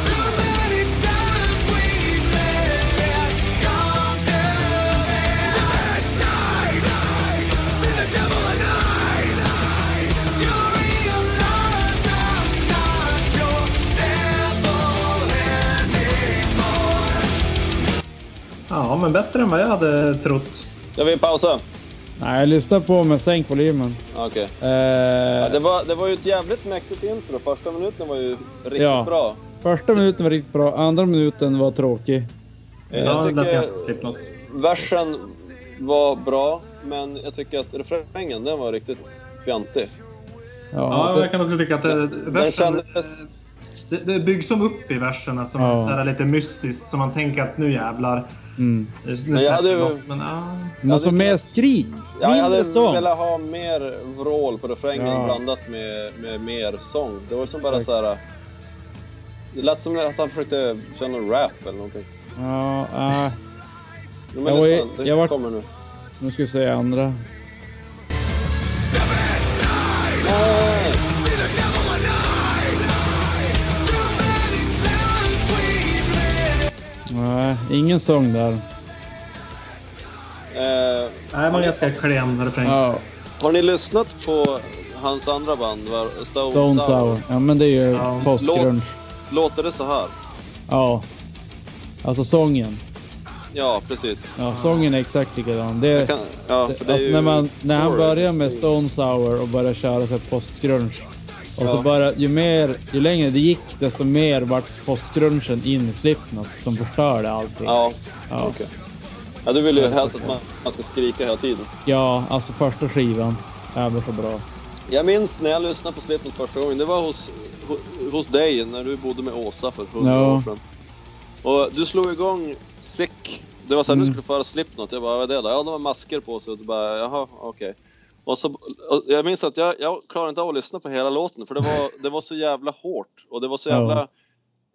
Speaker 6: Too many times we've let that come to an end. to the devil and I. You realize I'm not your devil anymore.
Speaker 3: Ja, men bättre än vad jag hade trott.
Speaker 4: Ska vi pausa?
Speaker 2: Nej, lyssna på men sänk volymen.
Speaker 4: Okej.
Speaker 2: Eh,
Speaker 4: Ja, det, var, det var ju ett jävligt mäktigt intro. Första minuten var ju riktigt
Speaker 2: Ja.
Speaker 4: bra.
Speaker 2: Första minuten var riktigt bra, andra minuten var tråkig.
Speaker 4: Jag
Speaker 3: Ja, det lät
Speaker 4: tycker
Speaker 3: ganska Slipknot.
Speaker 4: versen var bra, men jag tycker att refrängen, den var riktigt fjantig.
Speaker 3: Ja,
Speaker 2: det-
Speaker 3: jag kan också tycka att det,
Speaker 4: Den
Speaker 3: versen,
Speaker 4: kändes...
Speaker 3: det, det byggs som upp i verserna som
Speaker 2: Ja.
Speaker 3: så här lite mystiskt. Så man tänker att nu jävlar.
Speaker 2: Mm.
Speaker 3: Nu
Speaker 4: jag
Speaker 3: släpper
Speaker 4: hade
Speaker 3: vi
Speaker 4: ju-
Speaker 3: loss. Men, ja.
Speaker 2: Men alltså
Speaker 4: det-
Speaker 2: mer skrik!
Speaker 4: Ja, jag hade
Speaker 2: Mindre sång!
Speaker 4: velat ha mer vrål på refrängen
Speaker 2: Ja.
Speaker 4: blandat med, med mer sång. Det var som bara
Speaker 2: Exakt.
Speaker 4: så här. Det lät som att han försökte köra någon rap eller någonting.
Speaker 2: Ja, eh,
Speaker 4: Men
Speaker 2: Jag var ju-
Speaker 4: lyssna, det
Speaker 2: jag var-
Speaker 4: kommer nu.
Speaker 2: Nu ska vi se andra. Nej, ingen sång där.
Speaker 4: Eh,
Speaker 3: Nej, man är ganska klen refräng.
Speaker 2: Ja,
Speaker 4: har ni lyssnat på hans andra band, var- Stone,
Speaker 2: Stone Sour. Ja, men det är ju
Speaker 3: Ja.
Speaker 2: postgrunge.
Speaker 4: Låter det så här?
Speaker 2: Ja. Alltså sången.
Speaker 4: Ja, precis.
Speaker 2: Ja, sången är exakt likadan. Det,
Speaker 4: Ah. Kan, ja, för det är
Speaker 2: alltså
Speaker 4: ju
Speaker 2: när, man, när han
Speaker 4: Doors.
Speaker 2: börjar med Stone Sour och börjar köra så här postgrunge. Och så bara, ju, mer, ju längre det gick, desto mer vart postgrungen in i Slipknot som förstörde allting.
Speaker 4: Ja,
Speaker 2: ja.
Speaker 4: okej. Ja, du vill ju helst att man, man ska skrika hela tiden.
Speaker 2: Ja, alltså första skivan. Jävlar så bra.
Speaker 4: Jag minns när jag lyssnade på Slipknot första gången. Det var hos, ho- hos dig när du bodde med Åsa för hundra
Speaker 2: Ja.
Speaker 4: år sedan. Och du slog igång Sick. Det var såhär,
Speaker 2: Mm.
Speaker 4: du skulle föra Slipknot. Jag bara, vad är det då? Ja, de har masker på sig. Och du bara, jaha, okej. Och så, och jag minns att jag, jag klarade inte av att lyssna på hela låten för det var, det var så jävla hårt och det var så
Speaker 2: Ja. Mm.
Speaker 4: jävla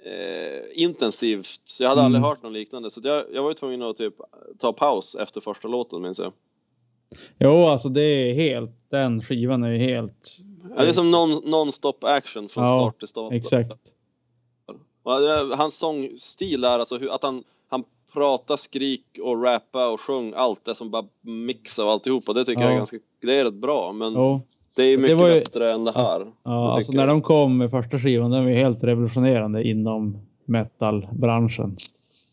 Speaker 4: eh, intensivt. Så jag hade aldrig hört något liknande så att jag, jag var ju tvungen att typ ta paus efter första låten minns jag.
Speaker 2: Jo, alltså det är helt... Den skivan är ju helt...
Speaker 4: Ja, det är som non- non-stop action från
Speaker 2: Ja,
Speaker 4: start till start.
Speaker 2: Exakt.
Speaker 4: Ja, det- Hans sångstil är alltså hur, att han, han pratar, skrik och rappa och sjung allt det som bara mixar och alltihopa. Det tycker
Speaker 2: Ja.
Speaker 4: jag är ganska, det är rätt bra men
Speaker 2: Jo.
Speaker 4: det är ju
Speaker 2: det
Speaker 4: mycket
Speaker 2: var ju-
Speaker 4: bättre än det här.
Speaker 2: Ja,
Speaker 4: Det
Speaker 2: alltså
Speaker 4: tycker
Speaker 2: när
Speaker 4: jag.
Speaker 2: de kom med första skivan, den var ju helt revolutionerande inom metalbranschen.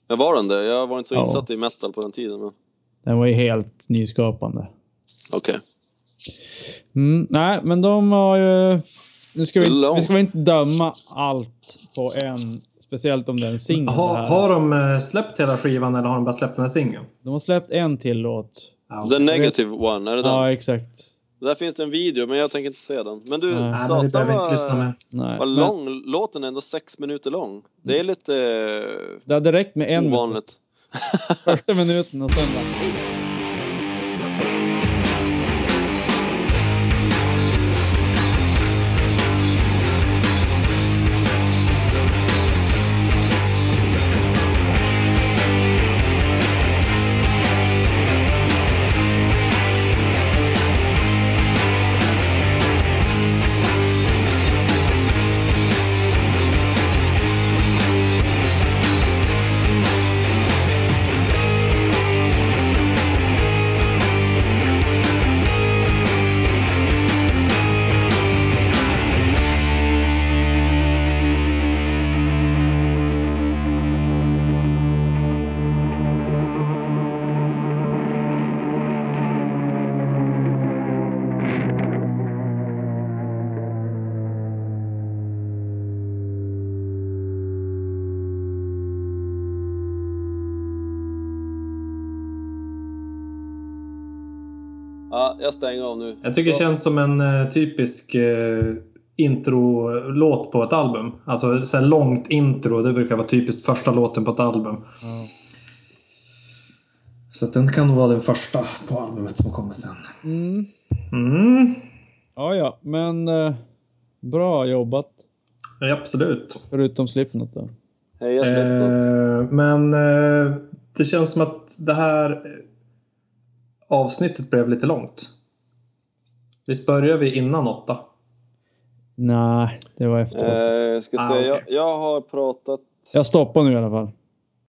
Speaker 4: Jag var den det? Jag var inte så
Speaker 2: Ja.
Speaker 4: insatt i metal på den tiden men
Speaker 2: Den var ju helt nyskapande.
Speaker 4: okej.
Speaker 2: Mm, nej, men de har ju... Nu ska vi,
Speaker 4: Långt.
Speaker 2: vi ska väl inte döma allt på en, speciellt om det är en singel.
Speaker 3: Ha,
Speaker 2: här.
Speaker 3: har de eh, släppt hela skivan eller har de bara släppt den här singeln?
Speaker 2: De har släppt en till låt.
Speaker 3: Ja.
Speaker 4: The negative one, är det den?
Speaker 2: Ja, exakt.
Speaker 4: Där finns det en video men jag tänker inte se den. Men du,
Speaker 2: Nej.
Speaker 3: Nej, men vi
Speaker 4: satan
Speaker 3: behöver inte lyssna
Speaker 4: vad,
Speaker 3: mer.
Speaker 2: Nej.
Speaker 4: vad
Speaker 2: men
Speaker 4: lång låten är, ändå sex minuter lång. Det är lite eh,
Speaker 2: Det hade räckt med en minut.
Speaker 4: ovanligt.
Speaker 2: första minuten och sen bara...
Speaker 4: Ja, jag stänger av nu.
Speaker 3: Jag tycker det
Speaker 4: Så-
Speaker 3: känns som en eh, typisk eh, introlåt på ett album. Alltså så här långt intro, det brukar vara typiskt första låten på ett album.
Speaker 2: Ja.
Speaker 3: Så att den kan nog vara den första på albumet som kommer sen.
Speaker 2: Mm.
Speaker 3: Mm.
Speaker 2: Ja, ja, men eh, bra jobbat.
Speaker 3: Ja, absolut.
Speaker 2: Förutom Slipknot då.
Speaker 4: Hej, jag släppte.
Speaker 3: Eh, men eh, det känns som att det här eh, avsnittet blev lite långt. Visst börjar vi innan åtta?
Speaker 2: Nej, det var efteråt.
Speaker 4: Eh, jag ska
Speaker 3: Ah,
Speaker 4: säga,
Speaker 3: okej.
Speaker 4: jag, jag har pratat...
Speaker 2: Jag stoppar nu i alla fall.